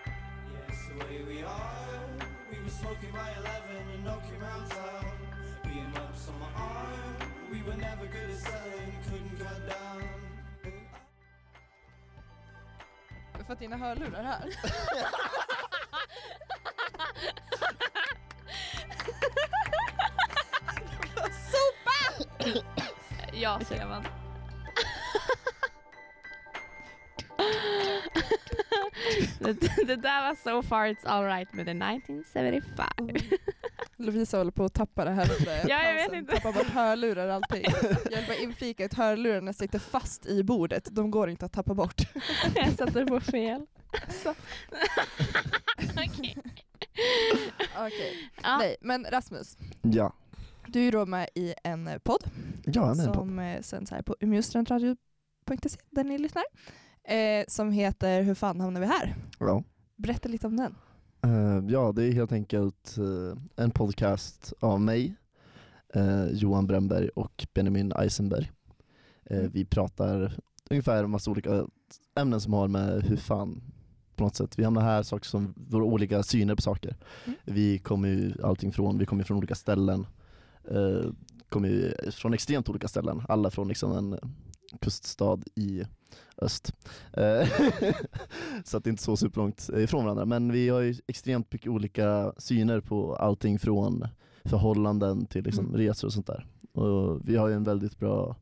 Yes, away we are. We were smoking by 11 and knocking around town. Being ups on my arm. We were never good at selling, couldn't cut down. Du får dina hörlurar här. Ja, säger man. det, det där var so far it's alright med the 1975. Lovisa håller på att tappa det här under Ja, jag vet pausen. inte. Tappar bort hörlurar och allting. Jag vill bara inflika att hörlurarna sitter fast i bordet. De går inte att tappa bort. Jag satte på fel. Okej. Okej. Ja. Nej, men Rasmus. Ja. Du är ju då med i en eh, podd Ja, jag är med i en podd. som eh, sänds här på umeåstudentradio.se där ni lyssnar. Eh, som heter Hur fan hamnar vi här? Ja. Berätta lite om den. Eh, ja, det är helt enkelt eh, en podcast av mig, eh, Johan Bremberg och Benjamin Eisenberg. Eh, Mm. Vi pratar ungefär om massa olika ämnen som har med hur fan på något sätt. Vi hamnar här, saker som våra olika syner på saker. Mm. Vi kommer ju allting från, vi kommer från olika ställen. Eh, kommer ju från extremt olika ställen. Alla från liksom en eh, kuststad i öst. Eh, så att det är inte så superlångt eh, ifrån varandra. Men vi har ju extremt mycket olika syner på allting från förhållanden till liksom Mm. resor och sånt där. Och vi har ju en väldigt bra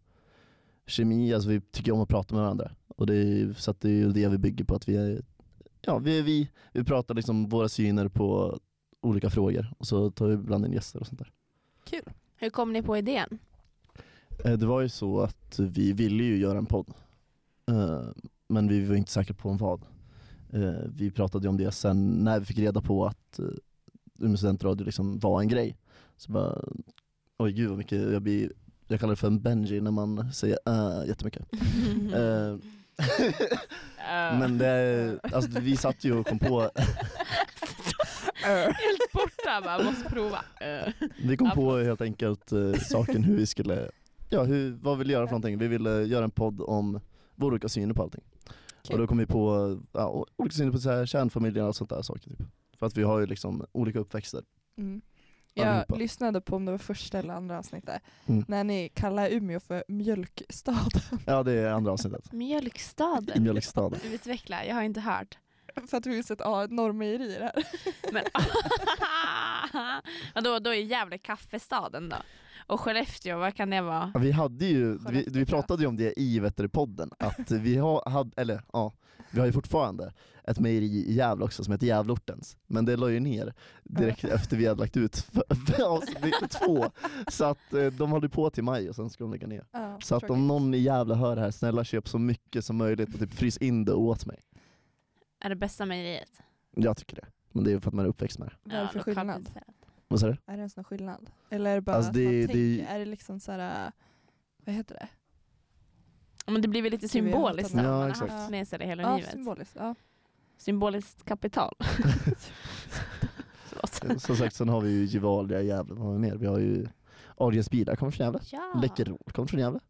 kemi, alltså vi tycker om att prata med varandra. Och det är, ju- så att det är ju det vi bygger på, att vi är, ja, vi, är vi, vi pratar liksom våra syner på olika frågor och så tar vi ibland in gäster och sånt där. Kul. Hur kom ni på idén? Eh, Det var ju så att vi ville ju göra en podd. Eh, Men vi var inte säkra på om vad. Eh, Vi pratade ju om det sen när vi fick reda på att eh, Umeå studentradio liksom var en grej. Så bara, oj gud vad mycket, jag, blir, jag kallar det för en Benji när man säger äh jättemycket. Mm. Eh, Men det, alltså, vi satt ju och kom på, Äh. Helt borta bara, måste prova. Eh. vi kom på helt enkelt eh, saken hur vi skulle, ja hur, vad vi ville göra för någonting. Vi ville göra en podd om våra olika syner på allting. Och då kom vi på ja, och olika syner på så här, kärnfamiljen och sånt där saker. Typ. För att vi har ju liksom olika uppväxter. Mm. Jag Allihopa. lyssnade på om det var första eller andra avsnittet. Mm. När ni kallar Umeå för mjölkstad. Ja det är andra avsnittet. I Mjölkstaden. Mjölkstaden. Utveckla, jag har inte hört. för att det finns ett A- normejeri här. Men vadå, då är Gävle kaffestaden då? Och Skellefteå, vad kan det vara? Ja, Vi hade ju, vi, Skellefteå, vi pratade ju om det i Vätterpodden, att vi har, hade, eller ja, vi har ju fortfarande ett mejeri i Gävle också som heter Gävleortens. Men det la ju ner direkt efter vi hade lagt ut för, för avsnitt två. Så att eh, de håller på till maj och sen ska de lägga ner. Ja, Så att tråkigt. om någon i Gävle hör det här, snälla köp så mycket som möjligt och typ frys in det åt mig. Är det bästa mejeriet? Jag tycker det. Men det är ju för att man är uppväxt med det. Vad är det för lokalt skillnad? producerat. Vad säger du? Är det ens någon skillnad? Eller är det bara Alltså, att det- man tänker, det- är det liksom så här, äh, vad heter det? Ja, Men det blir väl lite Gud, vi har symboliskt hatat att det. man Ja, har exakt. haft med sig det hela Ja, livet. symboliskt. Ja. Symboliskt kapital. Förlåt. Eh, Som sagt, sen har vi ju Gevalia i Gävle, vad har vi mer? Vi har ju Adrians bilar kommer från Gävle, Ja. Läckerol kommer från Gävle.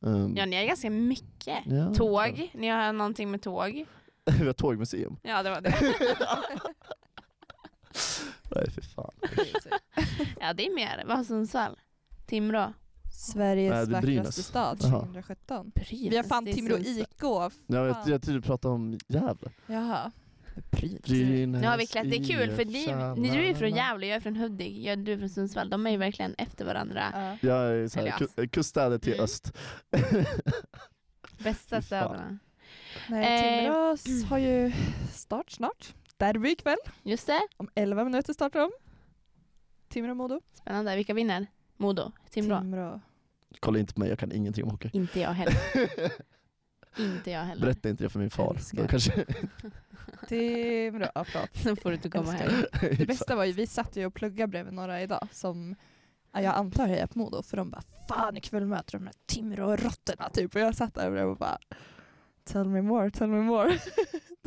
Um, ja, ni är ganska mycket. ja. Tåg, ni har någonting med tåg. vi har tågmuseum. Ja, det var det. Nej för fan. Ja, det är mer. Vad har Sundsvall? Timrå? Sveriges Nej, det är vackraste Brynäs. stad Jaha. 2017. Brynäs. Vi har fan det är Timrå Sundsvall. IK. fan. Jag, Ah. vet, jag trodde du pratade om Gävle. Jaha. Brynäs, Nu har vi klätt, det är kul för ni, IF, ni du är ju från tjena. Gävle, jag är från Hudik, jag, du är från Sundsvall. De är ju verkligen efter varandra. Ja. Jag är så här, Seriöst. ku- eh, kuststäder till Mm. öst. Bästa Fy fan. städerna. Eh, Nej, Timrå s- har ju start snart. Derby ikväll. Just det, Om 11 minuter startar de. Timrå-Modo. spännande. Vilka vinner? Modo? Timrå? Timrå. Kolla inte på mig, jag kan ingenting om hockey. Inte jag heller. Inte jag heller. Berätta inte det för min far. Älskar. Då kanske... Timrå. Ja, förlåt. Så får du inte komma Älskar. hem. Typ Det bästa var ju, vi satt ju och pluggade bredvid några idag som ja, jag antar hejar på Modo för de bara fan ikväll möter de här Timrå-råttorna typ och jag satt där bredvid och bara tell me more, tell me more.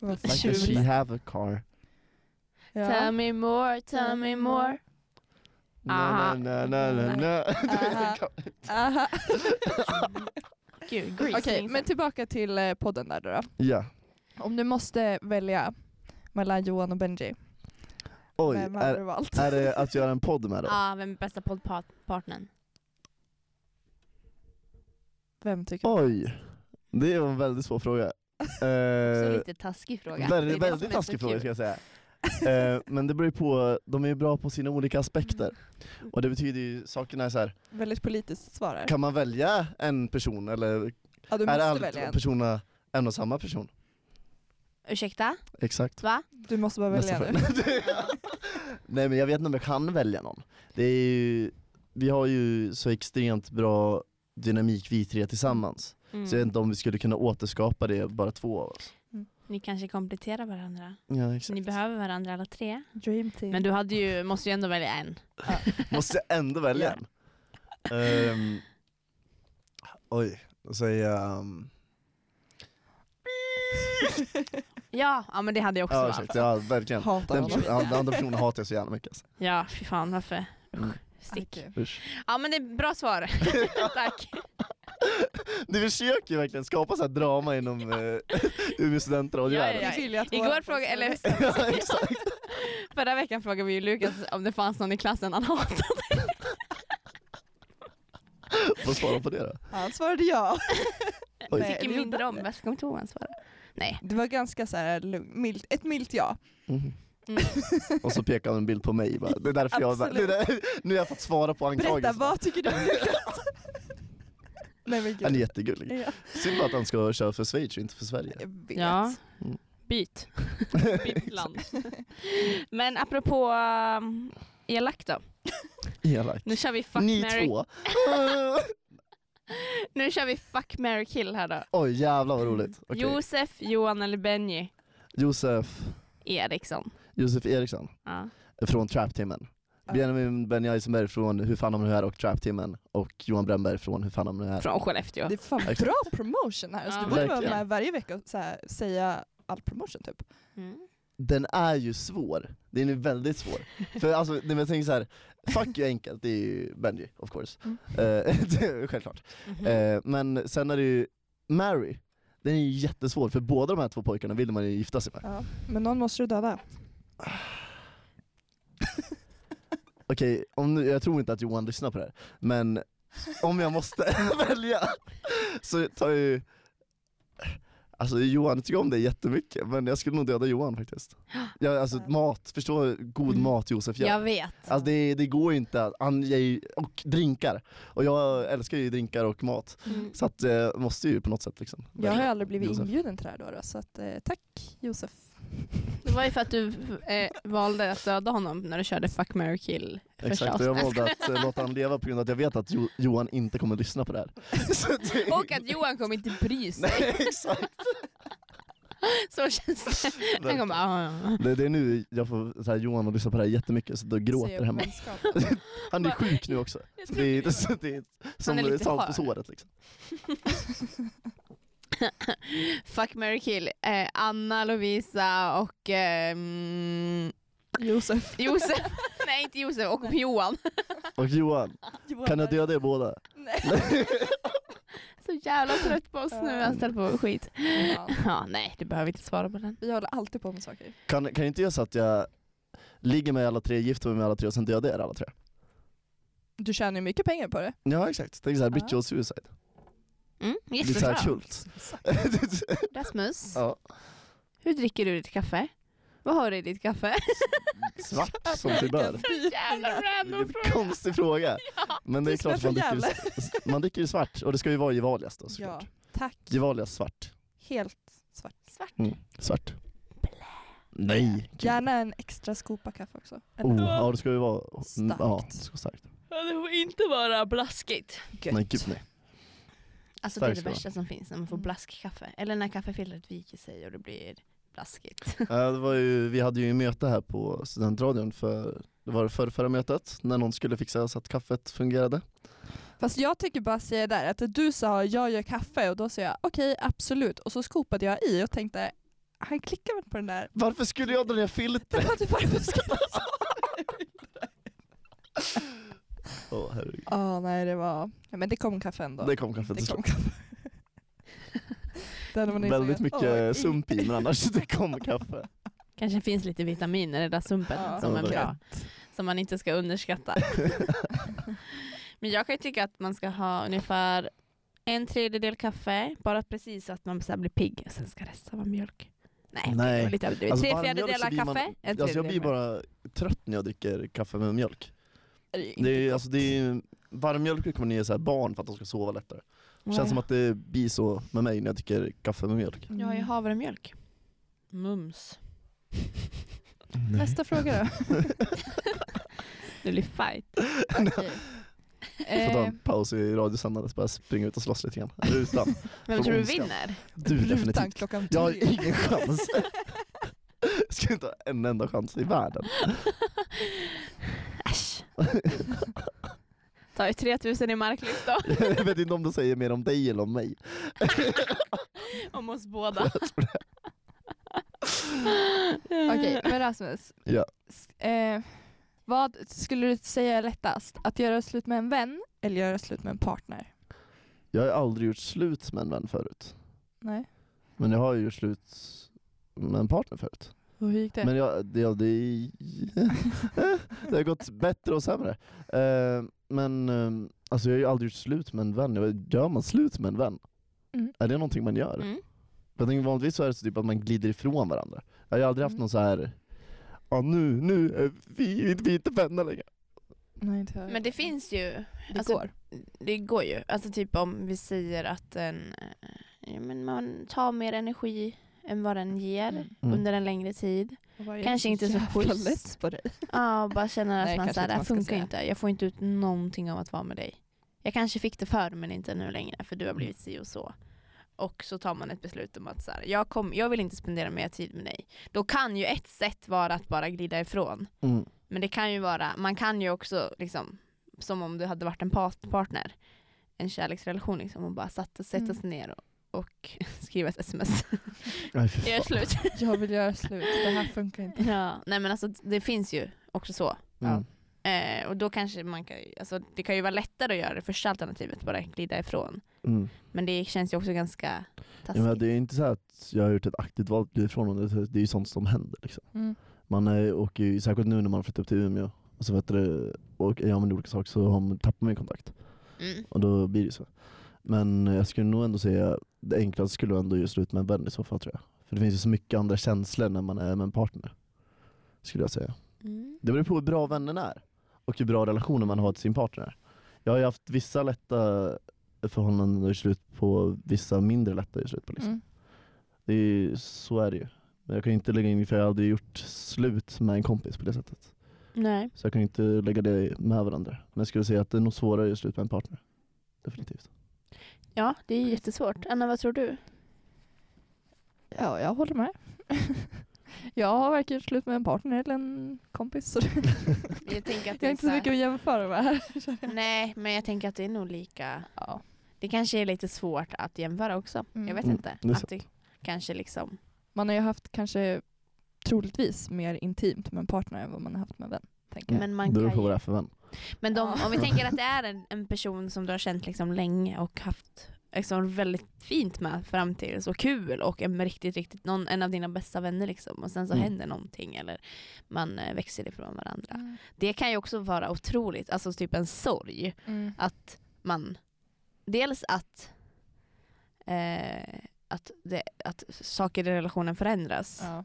Det var Like, does she kul. have a car? Ja. Tell me more, tell me more. Na, Aha. na, na, Ah. na, na. Aha. Aha. Gud, Okej, Grease. minns men jag. tillbaka till eh, podden där då. Ja. Om du måste välja mellan Johan och Benji, Oj, vem är, hade du valt? är det att göra en podd med då? Ja, vem är bästa poddpartnern? Vem tycker du? Oj, det var en väldigt svår fråga. Så Eh, lite taskig fråga. Det är det som väldigt väldigt är så taskig fråga kul. ska jag säga. Eh, men det beror ju på, de är ju bra på sina olika aspekter. Mm. Och det betyder ju, sakerna är så här. Väldigt politiskt svar här. kan man välja en person eller Ja, du är måste alla välja en. personerna en och samma person? Ursäkta? Exakt. Va? Du måste bara Nästa välja nu. fråga. Nej men jag vet inte om jag kan välja någon. Det är ju, vi har ju så extremt bra Mm. dynamik vi tre tillsammans. Så jag vet inte om vi skulle kunna återskapa det bara två av oss. Ni kanske kompletterar varandra. Ja, Ni exakt. behöver varandra alla tre. Mm. Dream team. Men du hade ju, måste ju ändå välja en. Måste jag ändå välja en? Ehm, oj, då säger jag... Um, Ja, ja men det hade jag också ja, valt. ursäkta, ja, verkligen. hatar Den, honom. person, ja, den andra personen hatar jag så jävla mycket. Alltså. Ja, fy fan varför? Mm. Stick. Okej. Usch. Ja men det är bra svar. Tack. Ni försöker ju verkligen skapa så här drama inom eh, Umeå studentradiovärlden. Ja, Vi vill ju att Igår våra frågade, folk ska eller rösta. Ja, exakt. förra veckan frågade vi ju Lukas om det fanns någon i klassen han hatade. Vad svarar på det då? Han svarade ja. Oj. Nej, Tycker det gjorde mindre han om, jag kommer inte ihåg vad han svarade. Nej. Det var ganska så här lugnt, milt, ett milt ja. Mhm. Mm. Och så pekar han en bild på mig. Bara. Det är därför jag, det är Absolut. där, nu har jag fått svara på Berätta, anklagelserna. vad tycker du om Lukas? Nej men Han är gud. jättegullig. Ja, Synd bara att han ska köra för Schweiz och inte för Sverige. jag vet. Ja. Mm. Byt. Byt land. Men apropå um, elakt då. Elak. Nu kör vi fuck, Ni marry, två. nu kör vi fuck, marry, kill här då. Oj jävlar vad roligt. Okej. Josef, Johan eller Benji Josef, Eriksson. Josef Eriksson Ja. från Trap-timmen. Ja. Benjamin Ben Eisenberg från Hur fan om du är och Trap-timmen. Och Johan Brännberg från Hur fan om du är. Från Skellefteå. Det är fan Exakt. bra promotion här. Så Ja. du borde vara Verkligen. med varje vecka och så här, säga all promotion typ. Mm. Den är ju svår. Den är väldigt svår. För alltså, nej, men jag tänker så här. fuck är enkelt, det är ju Benji of course. Mm. Eh, det är självklart. Mhm. Eh, men sen är det ju Mary. Den är ju jättesvår för båda de här två pojkarna vill man ju gifta sig med. Ja. Men någon måste du döda. Okej, om nu, jag tror inte att Johan lyssnar på det här, men om jag måste välja så tar jag ju... Alltså Johan tycker om dig jättemycket, men jag skulle nog döda Johan faktiskt. Jag, alltså mat, förstå god Mm. mat Josef gör. Jag vet. Alltså det, det går ju inte, att- han ger ju, och drinkar. Och jag älskar ju drinkar och mat. Mm. Så att eh, måste ju på något sätt liksom. Jag har ju aldrig blivit Josef. inbjuden till det här då, då så att, eh, tack Josef. Det var ju för att du eh, valde att döda honom när du körde fuck, marry, kill. första Exakt, och jag avsnittet. valde att eh, låta han leva på grund av att jag vet att jo, Johan inte kommer lyssna på det här. Så det- Och att Johan kommer inte bry sig. Nej exakt. Så känns det. Han kommer bara, "Ah, ja, ja." Det, det är nu jag får så här, Johan och lyssna på det här jättemycket så då Se gråter på hemma. vänskap. Han är sjuk nu också. Jag Så tror det är, det. så det är som lite salt på skör. såret liksom. Fuck, marry, kill. Eh, Anna, Lovisa och eh, mm, Josef. Josef. Nej inte Josef, och Johan. Och Johan, Johan kan jag var- döda er båda? Nej. Så jävla trött på oss nu, jag har ställt på skit. Ja. Ja, nej, du behöver inte svara på den. Vi håller alltid på med saker. Kan, kan jag inte göra så att jag ligger med alla tre, gifter mig med alla tre och sen dödar er alla tre? Du tjänar ju mycket pengar på det. Ja exakt, tänk såhär Ja. ritual suicide. Mm, Det är såhär jättebra. kult. Rasmus, ja. hur dricker du ditt kaffe? Vad har du i ditt kaffe? Svart som sig bör. Så jävla random Vilken fråga. konstig fråga. Men det är Det klart att man smakar dricker, man dricker ju svart och det ska ju vara Gevalias då Ja, såklart. tack. Gevalias svart. Helt svart. Svart. Mm. Svart. Nej. Gärna en extra skopa kaffe också. Eller- Oh, ja det ska ju vara mm, Starkt. Ja, det ska vara starkt. Ja, det får inte vara blaskigt. Gött. Nej gud nej. Alltså det är det Starkt, va? värsta som finns när man får Mm. blaskkaffe. Eller när kaffefiltret viker sig och det blir blaskigt. Ja, Eh, det var ju, vi hade ju möte här på studentradion för det var det förra, förra mötet när någon skulle fixa så att kaffet fungerade. Fast jag tycker bara säga där att du sa jag gör kaffe och då sa jag okej absolut och så skopade jag i och tänkte han klickar väl på den där. Varför skulle jag dra ner Det filtret? var typ varför skulle jag sa Åh herregud. Ja nej det var, ja, men det kom kaffe ändå. Det kom kaffet till det kom slut. kaffe. Det hade man inte Väldigt velat. Åh, mycket sump i men annars det kom kaffe. Kanske finns lite vitaminer i den där sumpen Ja, som är verkligen. bra. Som man inte ska underskatta. Men jag kan ju tycka att man ska ha ungefär en tredjedel kaffe, bara precis så att man så här blir pigg. Och sen ska resten vara mjölk. Nej, det Nej. var lite överdrivet. Alltså, Tre varmmjölk så fjärdedelar blir man- kaffe, en Alltså jag tredjedel blir bara trött när jag dricker kaffe med mjölk. är ju inte Det är, gott. alltså, det är, varmmjölk brukar man ge så här barn för att de ska sova lättare. mjölk. Känns som att det blir så med mig när jag dricker kaffe med mjölk. Mm. Ja, jag har havremjölk. Mums. Nästa fråga då. Det blir fight. Okej. Får ta Eh, en paus i radiosändandet, bara springa ut och slåss lite grann. Rutan. Vem tror du Ondska. vinner? Du Rutan definitivt. klockan Jag har tre. ingen chans. Jag ska inte ha en enda chans i världen. Äsch. Tar ju 3000 i marklyft då. Jag vet inte om det säger mer om dig eller om mig. Om oss båda. Okej, men Rasmus. Ja. S- Eh, vad skulle du säga är lättast? Att göra slut med en vän eller göra slut med en partner? Jag har aldrig gjort slut med en vän förut. Nej. Men jag har ju gjort slut med en partner förut. Och hur gick det? Men jag, det, ja, det, det har gått bättre och sämre. Eh, men eh, alltså jag har ju aldrig gjort slut med en vän. Jag vet, Gör man slut med en vän? Mm. Är det någonting man gör? Mm. Jag tänker, vanligtvis så är det så typ att man glider ifrån varandra. Jag har ju aldrig haft Mm. någon så här Ja nu, nu är vi, vi är inte vänner längre. Nej, inte jag. Men det finns ju, Det alltså- går. det går ju, alltså typ om vi säger att en, eh, ja, men man tar mer energi än vad den ger Mm. Mm. under en längre tid. Och vad är Kanske det inte så jävla schysst. less på dig. Ja, och bara känner att Nej, man kanske såhär, inte det här "Äh, man ska funkar säga. inte, jag får inte ut någonting av att vara med dig. Jag kanske fick det förr men inte nu längre för du har blivit si och så. Och så tar man ett beslut om att så här, jag, kom, jag vill inte spendera mer tid med dig. Då kan ju ett sätt vara att bara glida ifrån. Mm. Men det kan ju vara, man kan ju också liksom, som om du hade varit en pa- partner, en kärleksrelation liksom, och bara satt, sätta sig ner och, och skriva ett sms. Nej, fy Jag är fan. slut. Jag vill göra slut, det här funkar inte. ja. Nej men alltså det finns ju också så. Mm. Eh, och då kanske man kan, alltså det kan ju vara lättare att göra det första alternativet, bara glida ifrån. Mm. Men det känns ju också ganska Ja, men taskigt. det är inte så här att jag har gjort ett aktivt val att glida ifrån honom. Det det är ju sånt som händer. Liksom. Mm. Man är, åker ju, särskilt nu när man flyttar upp till Umeå och så vet du, och gör man olika saker så har man, tappar man ju kontakt. Mm. Och då blir det så. Men jag skulle nog ändå säga, det enklaste skulle ändå göra slut med en vän i så fall tror jag. För det finns ju så mycket andra känslor när man är med en partner. Skulle jag säga. Mm. Det beror på hur bra vännen är. Och hur bra relationen man har till sin partner. Jag har ju haft vissa lätta förhållanden och gjort slut på, vissa mindre lätta gjort slut på. Liksom. Mm. Det är ju, så är det ju. Men jag kan inte lägga in, för jag har aldrig gjort slut med en kompis på det sättet. Nej. Så jag kan inte lägga det med varandra. Men jag skulle säga att det är nog svårare att göra slut med en partner. Definitivt. Ja, det är jättesvårt. Anna, vad tror du? Ja, jag håller med. jag har varken gjort slut med en partner eller en kompis. Så det- Jag tänker att jag har inte så mycket att jämföra med här. Nej, men jag tänker att det är nog lika Ja. Det kanske är lite svårt att jämföra också. Mm. Jag vet Mm, inte. det är att sant. det kanske liksom... Man har ju haft kanske troligtvis mer intimt med en partner än vad man har haft med en vän. Tänker jag. Men man det beror kan på vad det ju, är för vän. Men de, Ja. om vi tänker att det är en, en person som du har känt liksom länge och haft liksom väldigt fint med fram till så kul och en riktigt, riktigt, någon, en av dina bästa vänner liksom och sen så Mm. händer någonting eller man eh, växer ifrån varandra. Det kan ju också vara otroligt, alltså typ en sorg. Mm. att man dels att, eh, att, det, att saker i relationen förändras Ja.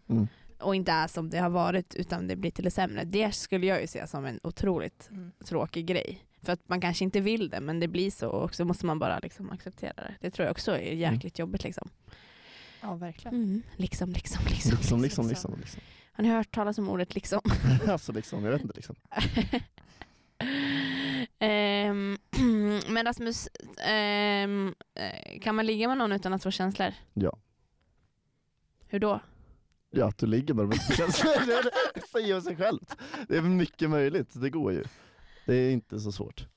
och inte är som det har varit utan det blir till det sämre. Det skulle jag ju se som en otroligt Mm. tråkig grej. För att man kanske inte vill det men det blir så och så måste man bara liksom acceptera det. Det tror jag också är Mm. jäkligt jobbigt liksom. ja, verkligen. Mm. Liksom, liksom, liksom, Liksom, liksom, liksom. liksom. Har ni hört talas om ordet liksom? alltså liksom, jag vet inte liksom. Ehm, men Rasmus, ehm, eh, kan man ligga med någon utan att få känslor? Ja. Hur då? Ja, att du ligger med dem inte känslor. det- Det säger sig självt. Det är mycket möjligt, det går ju. Det är inte så svårt.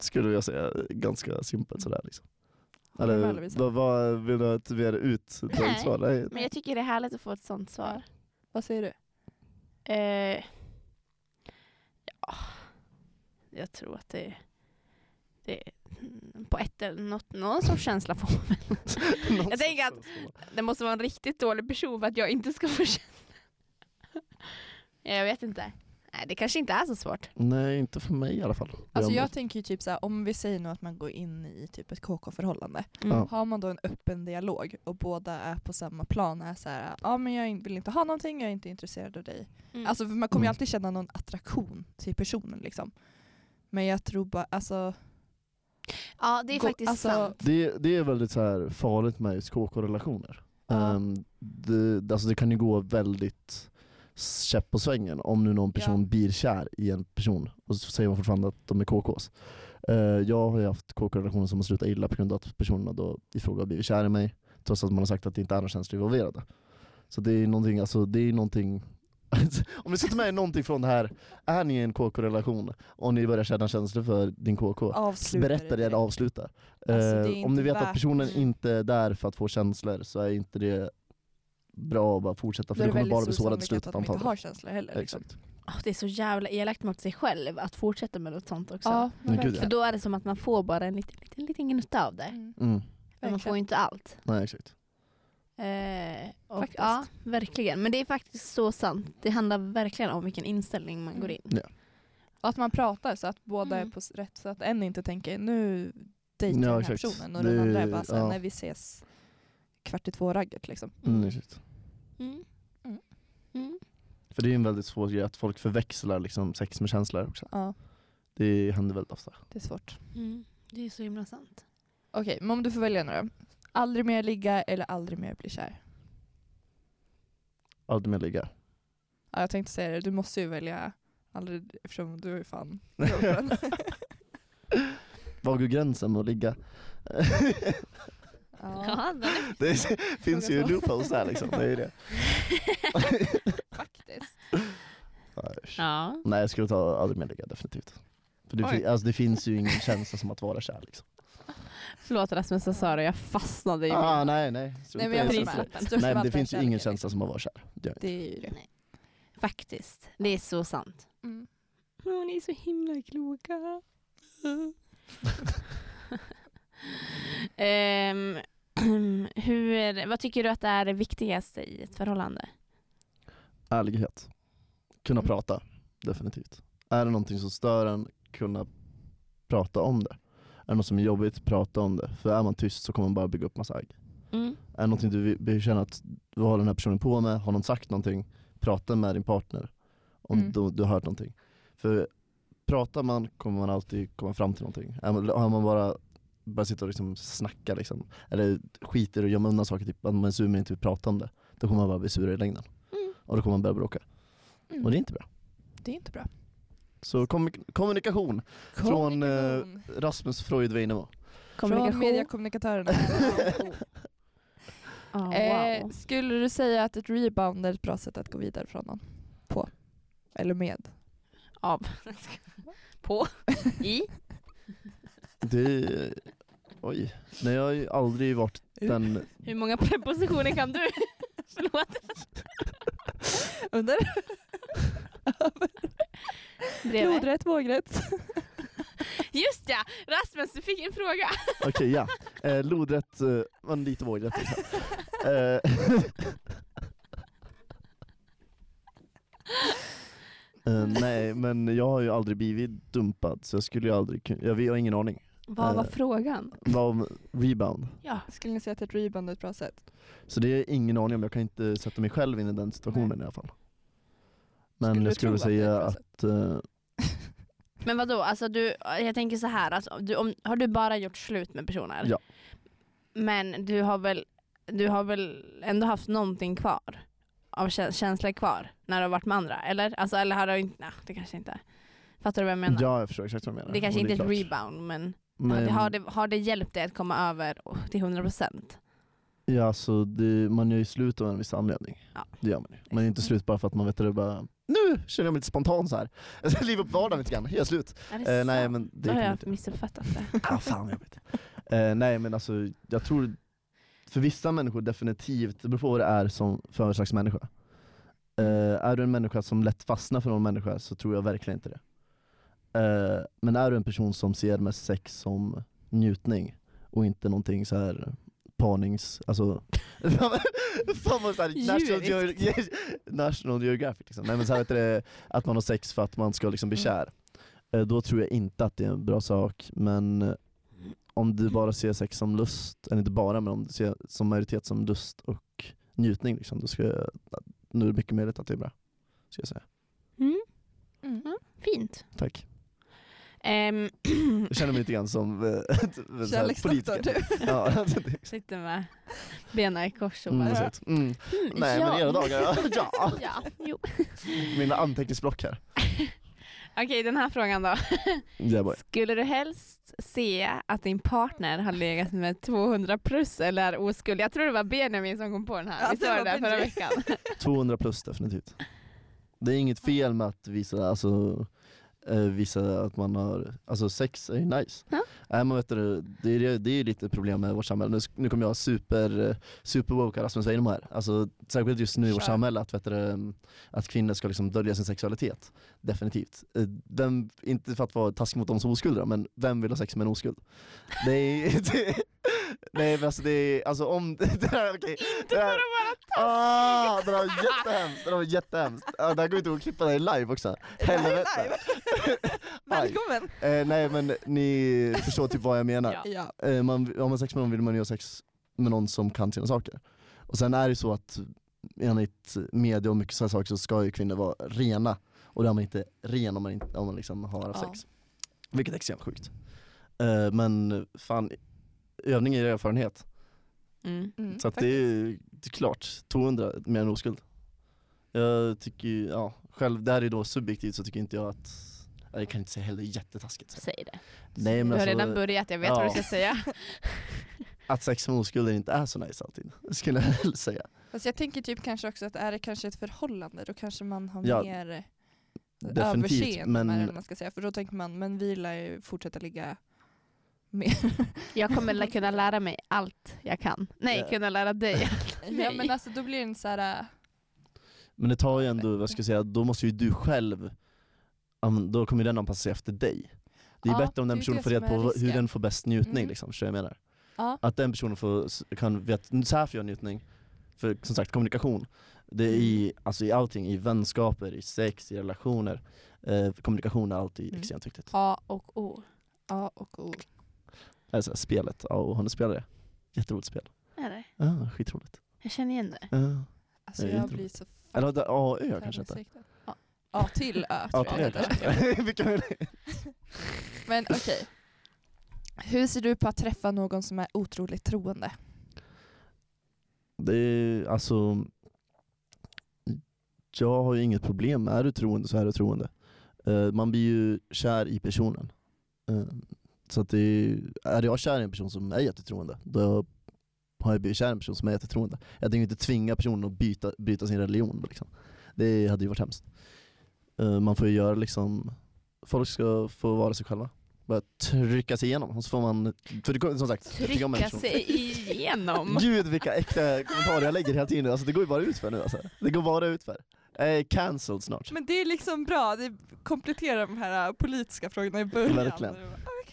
Skulle jag säga, ganska simpelt sådär liksom. Håller med, Eller Lovisa. vad, vad vill du att vi är ut? Nej. Svar? Nej. Men jag tycker det är härligt att få ett sånt svar. Vad säger du? Eh, ja, jag tror att det, det på ett eller något, någon sorts känsla får man väl. Någon Jag tänker sorts- Det måste vara en riktigt dålig person för att jag inte ska få känslor. jag vet inte. Nej, det kanske inte är så svårt. Nej, inte för mig i alla fall. Alltså Det är jag tänker ju typ såhär, om vi säger nu att man går in i typ ett KK-förhållande. Mm. Ja. Har man då en öppen dialog och båda är på samma plan, är så här, ja men jag in- vill inte ha någonting, jag är inte intresserad av dig. Mm. Alltså för man kommer ju Mm. alltid känna någon attraktion till personen liksom. Men jag tror bara, alltså, ja, det är gå- faktiskt alltså- sant. Det, det är väldigt så här farligt med just KK-relationer. Ja. Ehm, det, alltså det kan ju gå väldigt käpp på svängen om nu någon person Ja. blir kär i en person och så säger man fortfarande att de är KKs. Eh, jag har ju haft KK-relationer som har slutat illa på grund av att personerna då i fråga har blivit kär i mig trots att man har sagt att det inte är några känslor involverade. Så det är ju någonting, alltså det är ju någonting om ni ska ta med er någonting från det här, är ni i en KK-relation och ni börjar känna känslor för din KK, Avsluta berätta det direkt. eller avsluta. Alltså, det är Eh, inte om ni vet att värt- personen Mm. inte är där för att få känslor så är inte det bra att bara fortsätta för Då är du kommer väldigt bara bli stor sårad i sannolikhet slutet att man inte antagligen. har känslor heller. Liksom. Exakt. Åh, det är så jävla elakt mot sig själv att fortsätta med något sånt också. Ja, Men gud, verkligen. För då är det som att man får bara en liten, liten, liten gnutta av det. Mm, Mm. Men man får verkligen. ju inte allt. Nej exakt. Eh, och, Faktiskt. Ja, verkligen. Men det är faktiskt så sant. Det handlar verkligen om vilken inställning man går in. Och att man pratar så att båda Mm. är på s- rätt, så att en inte tänker nu dejtar Ja, jag den här exakt. personen och Det- den andra är bara så här, ja. nej vi ses kvart i två-ragget liksom. Mm, exakt. Mm. Mm. Mm. För det är ju en väldigt svår grej att folk förväxlar liksom sex med känslor också. Ja, Det händer väldigt ofta. det är svårt. Mm. Det är så himla sant. Okej, men om du får välja nu då. Aldrig mer ligga eller aldrig mer bli kär? Aldrig mer ligga. Ja, jag tänkte säga det, du måste ju välja aldrig eftersom du är fan girlfriend. Var går gränsen med att ligga? ja, det är- finns ju Fråga så. loopholes där liksom. Det är ju det. faktiskt. Äsch. ja. Nej jag skulle ta aldrig mer ligga definitivt. För det, Oj. fi- alltså, det finns ju ingen känsla som att vara kär liksom. Förlåt Rasmus och Sara, jag fastnade i Ah, nej nej. Så Nej men det jag är håller så. med. prislappen. Största Nej men det vatten finns ju ingen kärleken, känsla som att vara kär. Det gör liksom. Det är ju det. Faktiskt. Det är så sant. Mm. Oh, ni är så himla kloka. Ehm, hur, vad tycker du att det är det viktigaste i ett förhållande? Ärlighet. Kunna Mm. prata, definitivt. Är det någonting som stör en, kunna prata om det. Är det något som är jobbigt, prata om det. För är man tyst så kommer man bara bygga upp massa agg. Mm. Är det någonting du vill- vill känna att du har den här personen på med, har någon sagt någonting, prata med din partner om Mm. du, du har hört någonting. För pratar man kommer man alltid komma fram till någonting. Är man, har man bara bara sitta och liksom snacka liksom, eller skiter och gömma undan saker, typ att man är sur men inte vill prata om det. Då kommer man bara bli surare i längden. Mm. Och då kommer man börja bråka. Mm. Och det är inte bra. Det är inte bra. Så kommunik- kommunikation från eh, Rasmus Freud vi är inne på. Från mediakommunikatörerna. Ja, Ah, wow. eh, skulle du säga att ett rebound är ett bra sätt att gå vidare från någon? På? Eller med? Av. På. I. Det, oj, nej jag har ju aldrig varit den, Hur många prepositioner kan du? Förlåt. Under? Bredvid. Lodrätt, vågrätt. Just ja! Rasmus, du fick en fråga. okej ja, eh, lodrätt, eh, men lite vågrätt liksom. eh, eh, Nej men jag har ju aldrig blivit dumpad så jag skulle ju aldrig kun- jag, jag har ingen aning. Vad var Eh. frågan? Vad om rebound? Ja. Skulle ni säga att ett rebound är ett bra sätt? Så det är ingen aning om, jag kan inte sätta mig själv in i den situationen i alla fall. Men Skulle du jag skulle tro väl att det är säga ett bra att, sätt? eh, Men vadå, alltså du, jag tänker så här, alltså, du, om, har du bara gjort slut med personer? Ja. Men du har väl, du har väl ändå haft någonting kvar? Av kä- känslor kvar när du har varit med andra? Eller? Alltså, eller har du inte, nej det kanske inte. Fattar du vad jag menar? ja jag förstår exakt vad du menar. det kanske Och inte är klart. ett rebound men, Men, Har, det, har det hjälpt dig att komma över oh, till 100%? Ja, så det, man gör ju slut av en viss anledning. Ja. Det gör man ju. Man är ju inte slut bara för att man vet att det bara nu känner jag mig lite spontan så här. Jag ska liva upp vardagen lite grann, jag är slut. Är det Eh, nej sant? men Då det har kan man jag inte. missuppfattat det. Ah, fan vad jobbigt. Eh, nej men alltså jag tror för vissa människor definitivt, det beror på vad det är som för slags människa. Eh, är du en människa som lätt fastnar för någon människa så tror jag verkligen inte det. Eh, men är du en person som ser med sex som njutning och inte någonting så här parnings... Alltså, fan vad så här, National, Geog- National Geographic liksom. Nej, men så här, vet du, det, att man har sex för att man ska liksom bli Mm. kär. Eh, Då tror jag inte att det är en bra sak, men eh, om du bara ser sex som lust, eller inte bara, men om du ser som majoritet som lust och njutning, liksom, då ska jag, nu är det mycket möjligt att det är bra. Ska jag säga. Mm, Mm. fint. Tack. Ehm, Jag känner mig lite grann som eh, en sån här Kärleksdoktor, politiker. du. Ja, sitter med benen i kors och Mm, bara... exakt. Mm. Nej men era dagar, ja. ja. ja, jo. Mina anteckningsblock här. Okej, den här frågan då. Yeah, boy. Skulle du helst se att din partner har legat med 200 plus eller är oskuld? Jag tror det var Benjamin som kom på den här. Ja, Vi det såg var det där förra Benjamin. veckan. 200 plus definitivt. Det är inget fel med att visa, alltså, eh, visa att man har, alltså sex är ju nice. Ja. Nej, men vet du, det är ju det är ju lite problem med vårt samhälle. Nu, sk- nu kommer jag super, eh, super woke Rasmus Einemo här. Alltså, särskilt just nu i vårt Kör. samhälle att, vet du, eh, att kvinnor ska liksom dölja sin sexualitet. Definitivt. Eh, Vem, inte för att vara taskig mot de som är oskulda men vem vill ha sex med en oskuld? Det är, det, nej men alltså det är, alltså om, det här, okej. Det för här- att vara Ah, det där var jättehemskt, det där var jättehemskt. Ah, det här går inte att klippa det här live också. Helvete. Aj. Välkommen! Eh, nej men ni förstår typ vad jag menar. Ja. Eh, man, har man sex med någon vill man ju ha sex med någon som kan sina saker. Och sen är det ju så att enligt media och mycket sådana saker så ska ju kvinnor vara rena. Och då är man inte ren om man, inte, om man liksom har haft Ja. sex. Vilket är extremt sjukt. Eh, men fan, övning är erfarenhet. Mm. Mm, Så att det är ju det är klart, 200 med en oskuld. Jag tycker ju, ja, själv, det här är då subjektivt så tycker inte jag att, ja, jag kan inte säga heller jättetaskigt. Så. Säg det. Nej Du men har redan alltså, börjat, jag vet vad ja. du ska säga. att sex med oskulder inte är så nice alltid, skulle jag väl säga. Fast jag tänker typ kanske också att är det kanske ett förhållande då kanske man har Ja, mer eh, Definitivt, överseende med det, eller men vad man ska säga. För då tänker man, men vi lär ju fortsätta ligga. Jag kommer la- kunna lära mig allt jag kan. Nej, Ja. kunna lära dig. Ja Nej. men alltså då blir det en så här, eh, Men det tar ju ändå, vad ska jag säga, då måste ju du själv, ja, men då kommer ju den anpassa sig efter dig. Det är Ja, bättre om det den är ju personen det får som reda på är vad- hur risken. den får bäst njutning Mm. liksom, förstår jag vad jag menar. ja. Att den personen får, kan veta, så här får jag njutning. För som sagt, kommunikation. Det är i, Mm. alltså i allting, i vänskaper, i sex, i relationer. Eh, kommunikation är alltid Mm. extremt viktigt. A och O. A och O. Alltså spelet, ja, och hon spelar det. Jätteroligt spel. Är det? Ja, skitroligt. Jag känner igen det. Ja. Alltså Det är jag inte blir så Eller det- ja, ö fucking kanske inte. missriktad. A till Ö tror Ja, till jag. ö att det är. kanske. Vilka är det? Men okej. Hur ser du på att träffa någon som är otroligt troende? Det är alltså... Jag har ju inget problem. Är du troende så är du troende. Eh, man blir ju kär i personen. Eh, så att det är, är jag kär i en person som är jättetroende, då har jag blivit kär i en person som är jättetroende. Jag tänker inte tvinga personen att byta, byta sin religion. Liksom. Det hade ju varit hemskt. Eh, man får ju göra liksom... Folk ska få vara sig själva. Bara trycka sig igenom. Och så får man... För det, kommer- som sagt, jag tycker om en Trycka person. sig igenom. Gud vilka äckliga kommentarer jag lägger hela tiden, alltså det går ju bara ut för nu alltså. Det går bara ut för. Jag är cancelled snart. Men det är liksom bra, det kompletterar de här äh, politiska frågorna i början. Verkligen. "Ah,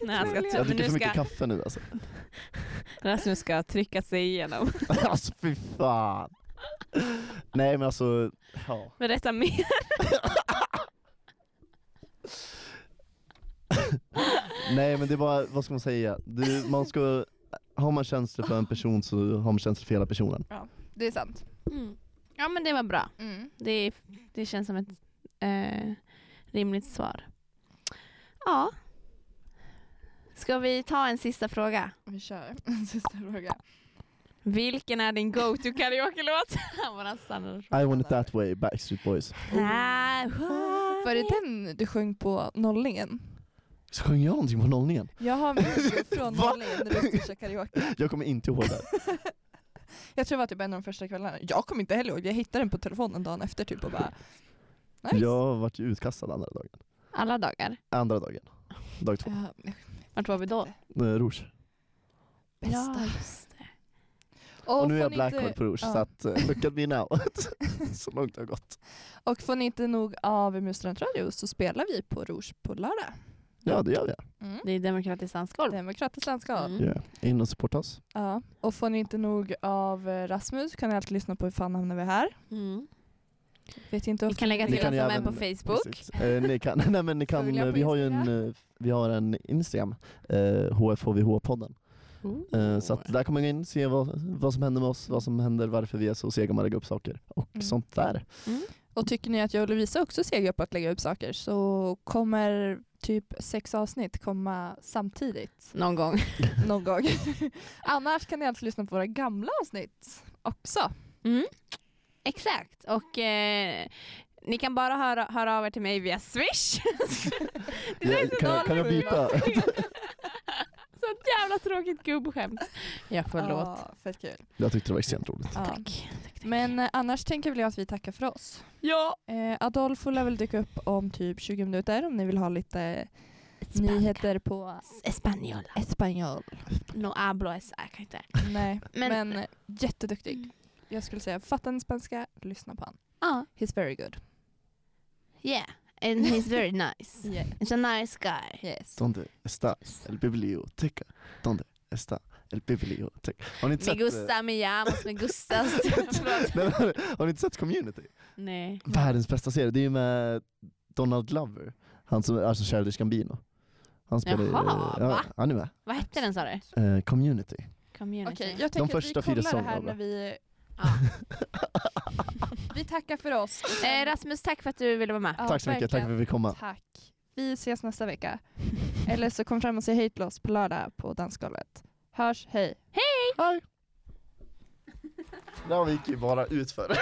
När han ska välja. men Jag dricker nu för mycket ska- kaffe nu alltså. Rasmus ska trycka sig igenom. Alltså fy fan. Nej men alltså, ja. Berätta mer. Nej men det är bara, vad ska man säga? Du, man ska, har man känslor för en person så har man känslor för hela personen. Det är sant. Mm. Ja men det var bra. Mm. Det, det känns som ett eh, rimligt svar. Ja. Ska vi ta en sista fråga? Vi kör en sista fråga. Vilken är din go-to karaoke-låt? Våran standardfråga. I want it that way, Backstreet Boys. Var det den du sjöng på nollningen? Så sjöng jag någonting på nollningen? Jag har en video från Va? nollningen när du skulle karaoke. Jag kommer inte ihåg det. Jag tror det var typ en av de första kvällarna. Jag kommer inte heller ihåg, jag hittade den på telefonen dagen efter typ och bara nice. Jag vart ju utkastad andra dagen. Alla dagar. Andra dagen. Dag två. Ja, Vart var vi då? Eh, Rouge. bästa. just det. Och, Och nu är får jag ni Blackheart inte- på Rouge, ja. så att, eh, look at me now. så långt det har gått. Och får ni inte nog av Mus Radio så spelar vi på Rouge på lördag. Ja, det gör vi. Mm. Det är demokratiskt dansgolv. Demokratiskt landskap. Mm. Yeah. In och supporta oss. Ja. Och får ni inte nog av eh, Rasmus kan ni alltid lyssna på Hur fan hamnar vi här? Mm. Vet inte Vi ofta kan lägga Ni till kan oss ju som en på även- Facebook. Precis. Eh, ni kan, nej, men ni kan, Följa på eh, vi, har ju en, Instagram. eh, vi har en Instagram, eh, HFHVH-podden. Eh, så att där kommer man gå in, se vad, vad som händer med oss, vad som händer, varför vi är så sega med att lägga upp saker och Mm. sånt där. Och tycker ni att jag och Lovisa också segar på att lägga upp saker så kommer typ sex avsnitt komma samtidigt Någon gång. någon gång. Annars kan ni alltså lyssna på våra gamla avsnitt också. Exakt. Och eh, ni kan bara höra, höra av er till mig via Swish. det där är så kan, jag- kan jag dåligt. byta? Sånt jävla tråkigt gubbskämt. Ja, förlåt. Ja, fett kul. Jag tyckte det var extremt roligt. Ja. Tack. Tack, tack. Men eh, annars tänker väl jag att vi tackar för oss. ja. Eh, Adolfo lär väl dyka upp om typ 20 minuter om ni vill ha lite nyheter på Espanjol. espanjol. No hablo es... Jag kan inte. Nej, Men- men, eh, jätteduktig. Jag skulle säga fatta en spanska, lyssna på han. Ja. He's very good. Yeah. And he's very nice. Yeah. He's a nice guy. Yes. Donde está el biblioteca? Donde está el biblioteca? Har ni inte Me sett, eh, gusta, me llamas, me gustas. Förlåt. nej, men har ni inte sett Community? Nej. Världens bästa serie, det är ju med Donald Glover. Han som är alltså Childish Gambino. Han spelar ju- Jaha, va? ja, Han är med. Vad hette den sa du? Eh, community. Community. Okej, jag tänker första att vi fyra kollar det här säsongerna. när vi... Ja. Vi tackar för oss. och sen- Eh, Rasmus, tack för att du ville vara med. Ja, tack så mycket, tack för att verkligen. vi fick komma. Tack. Vi ses nästa vecka. Eller så kom fram och säg hej till oss på lördag på dansgolvet. Hörs, hej. Hej! Det här gick ju bara utför.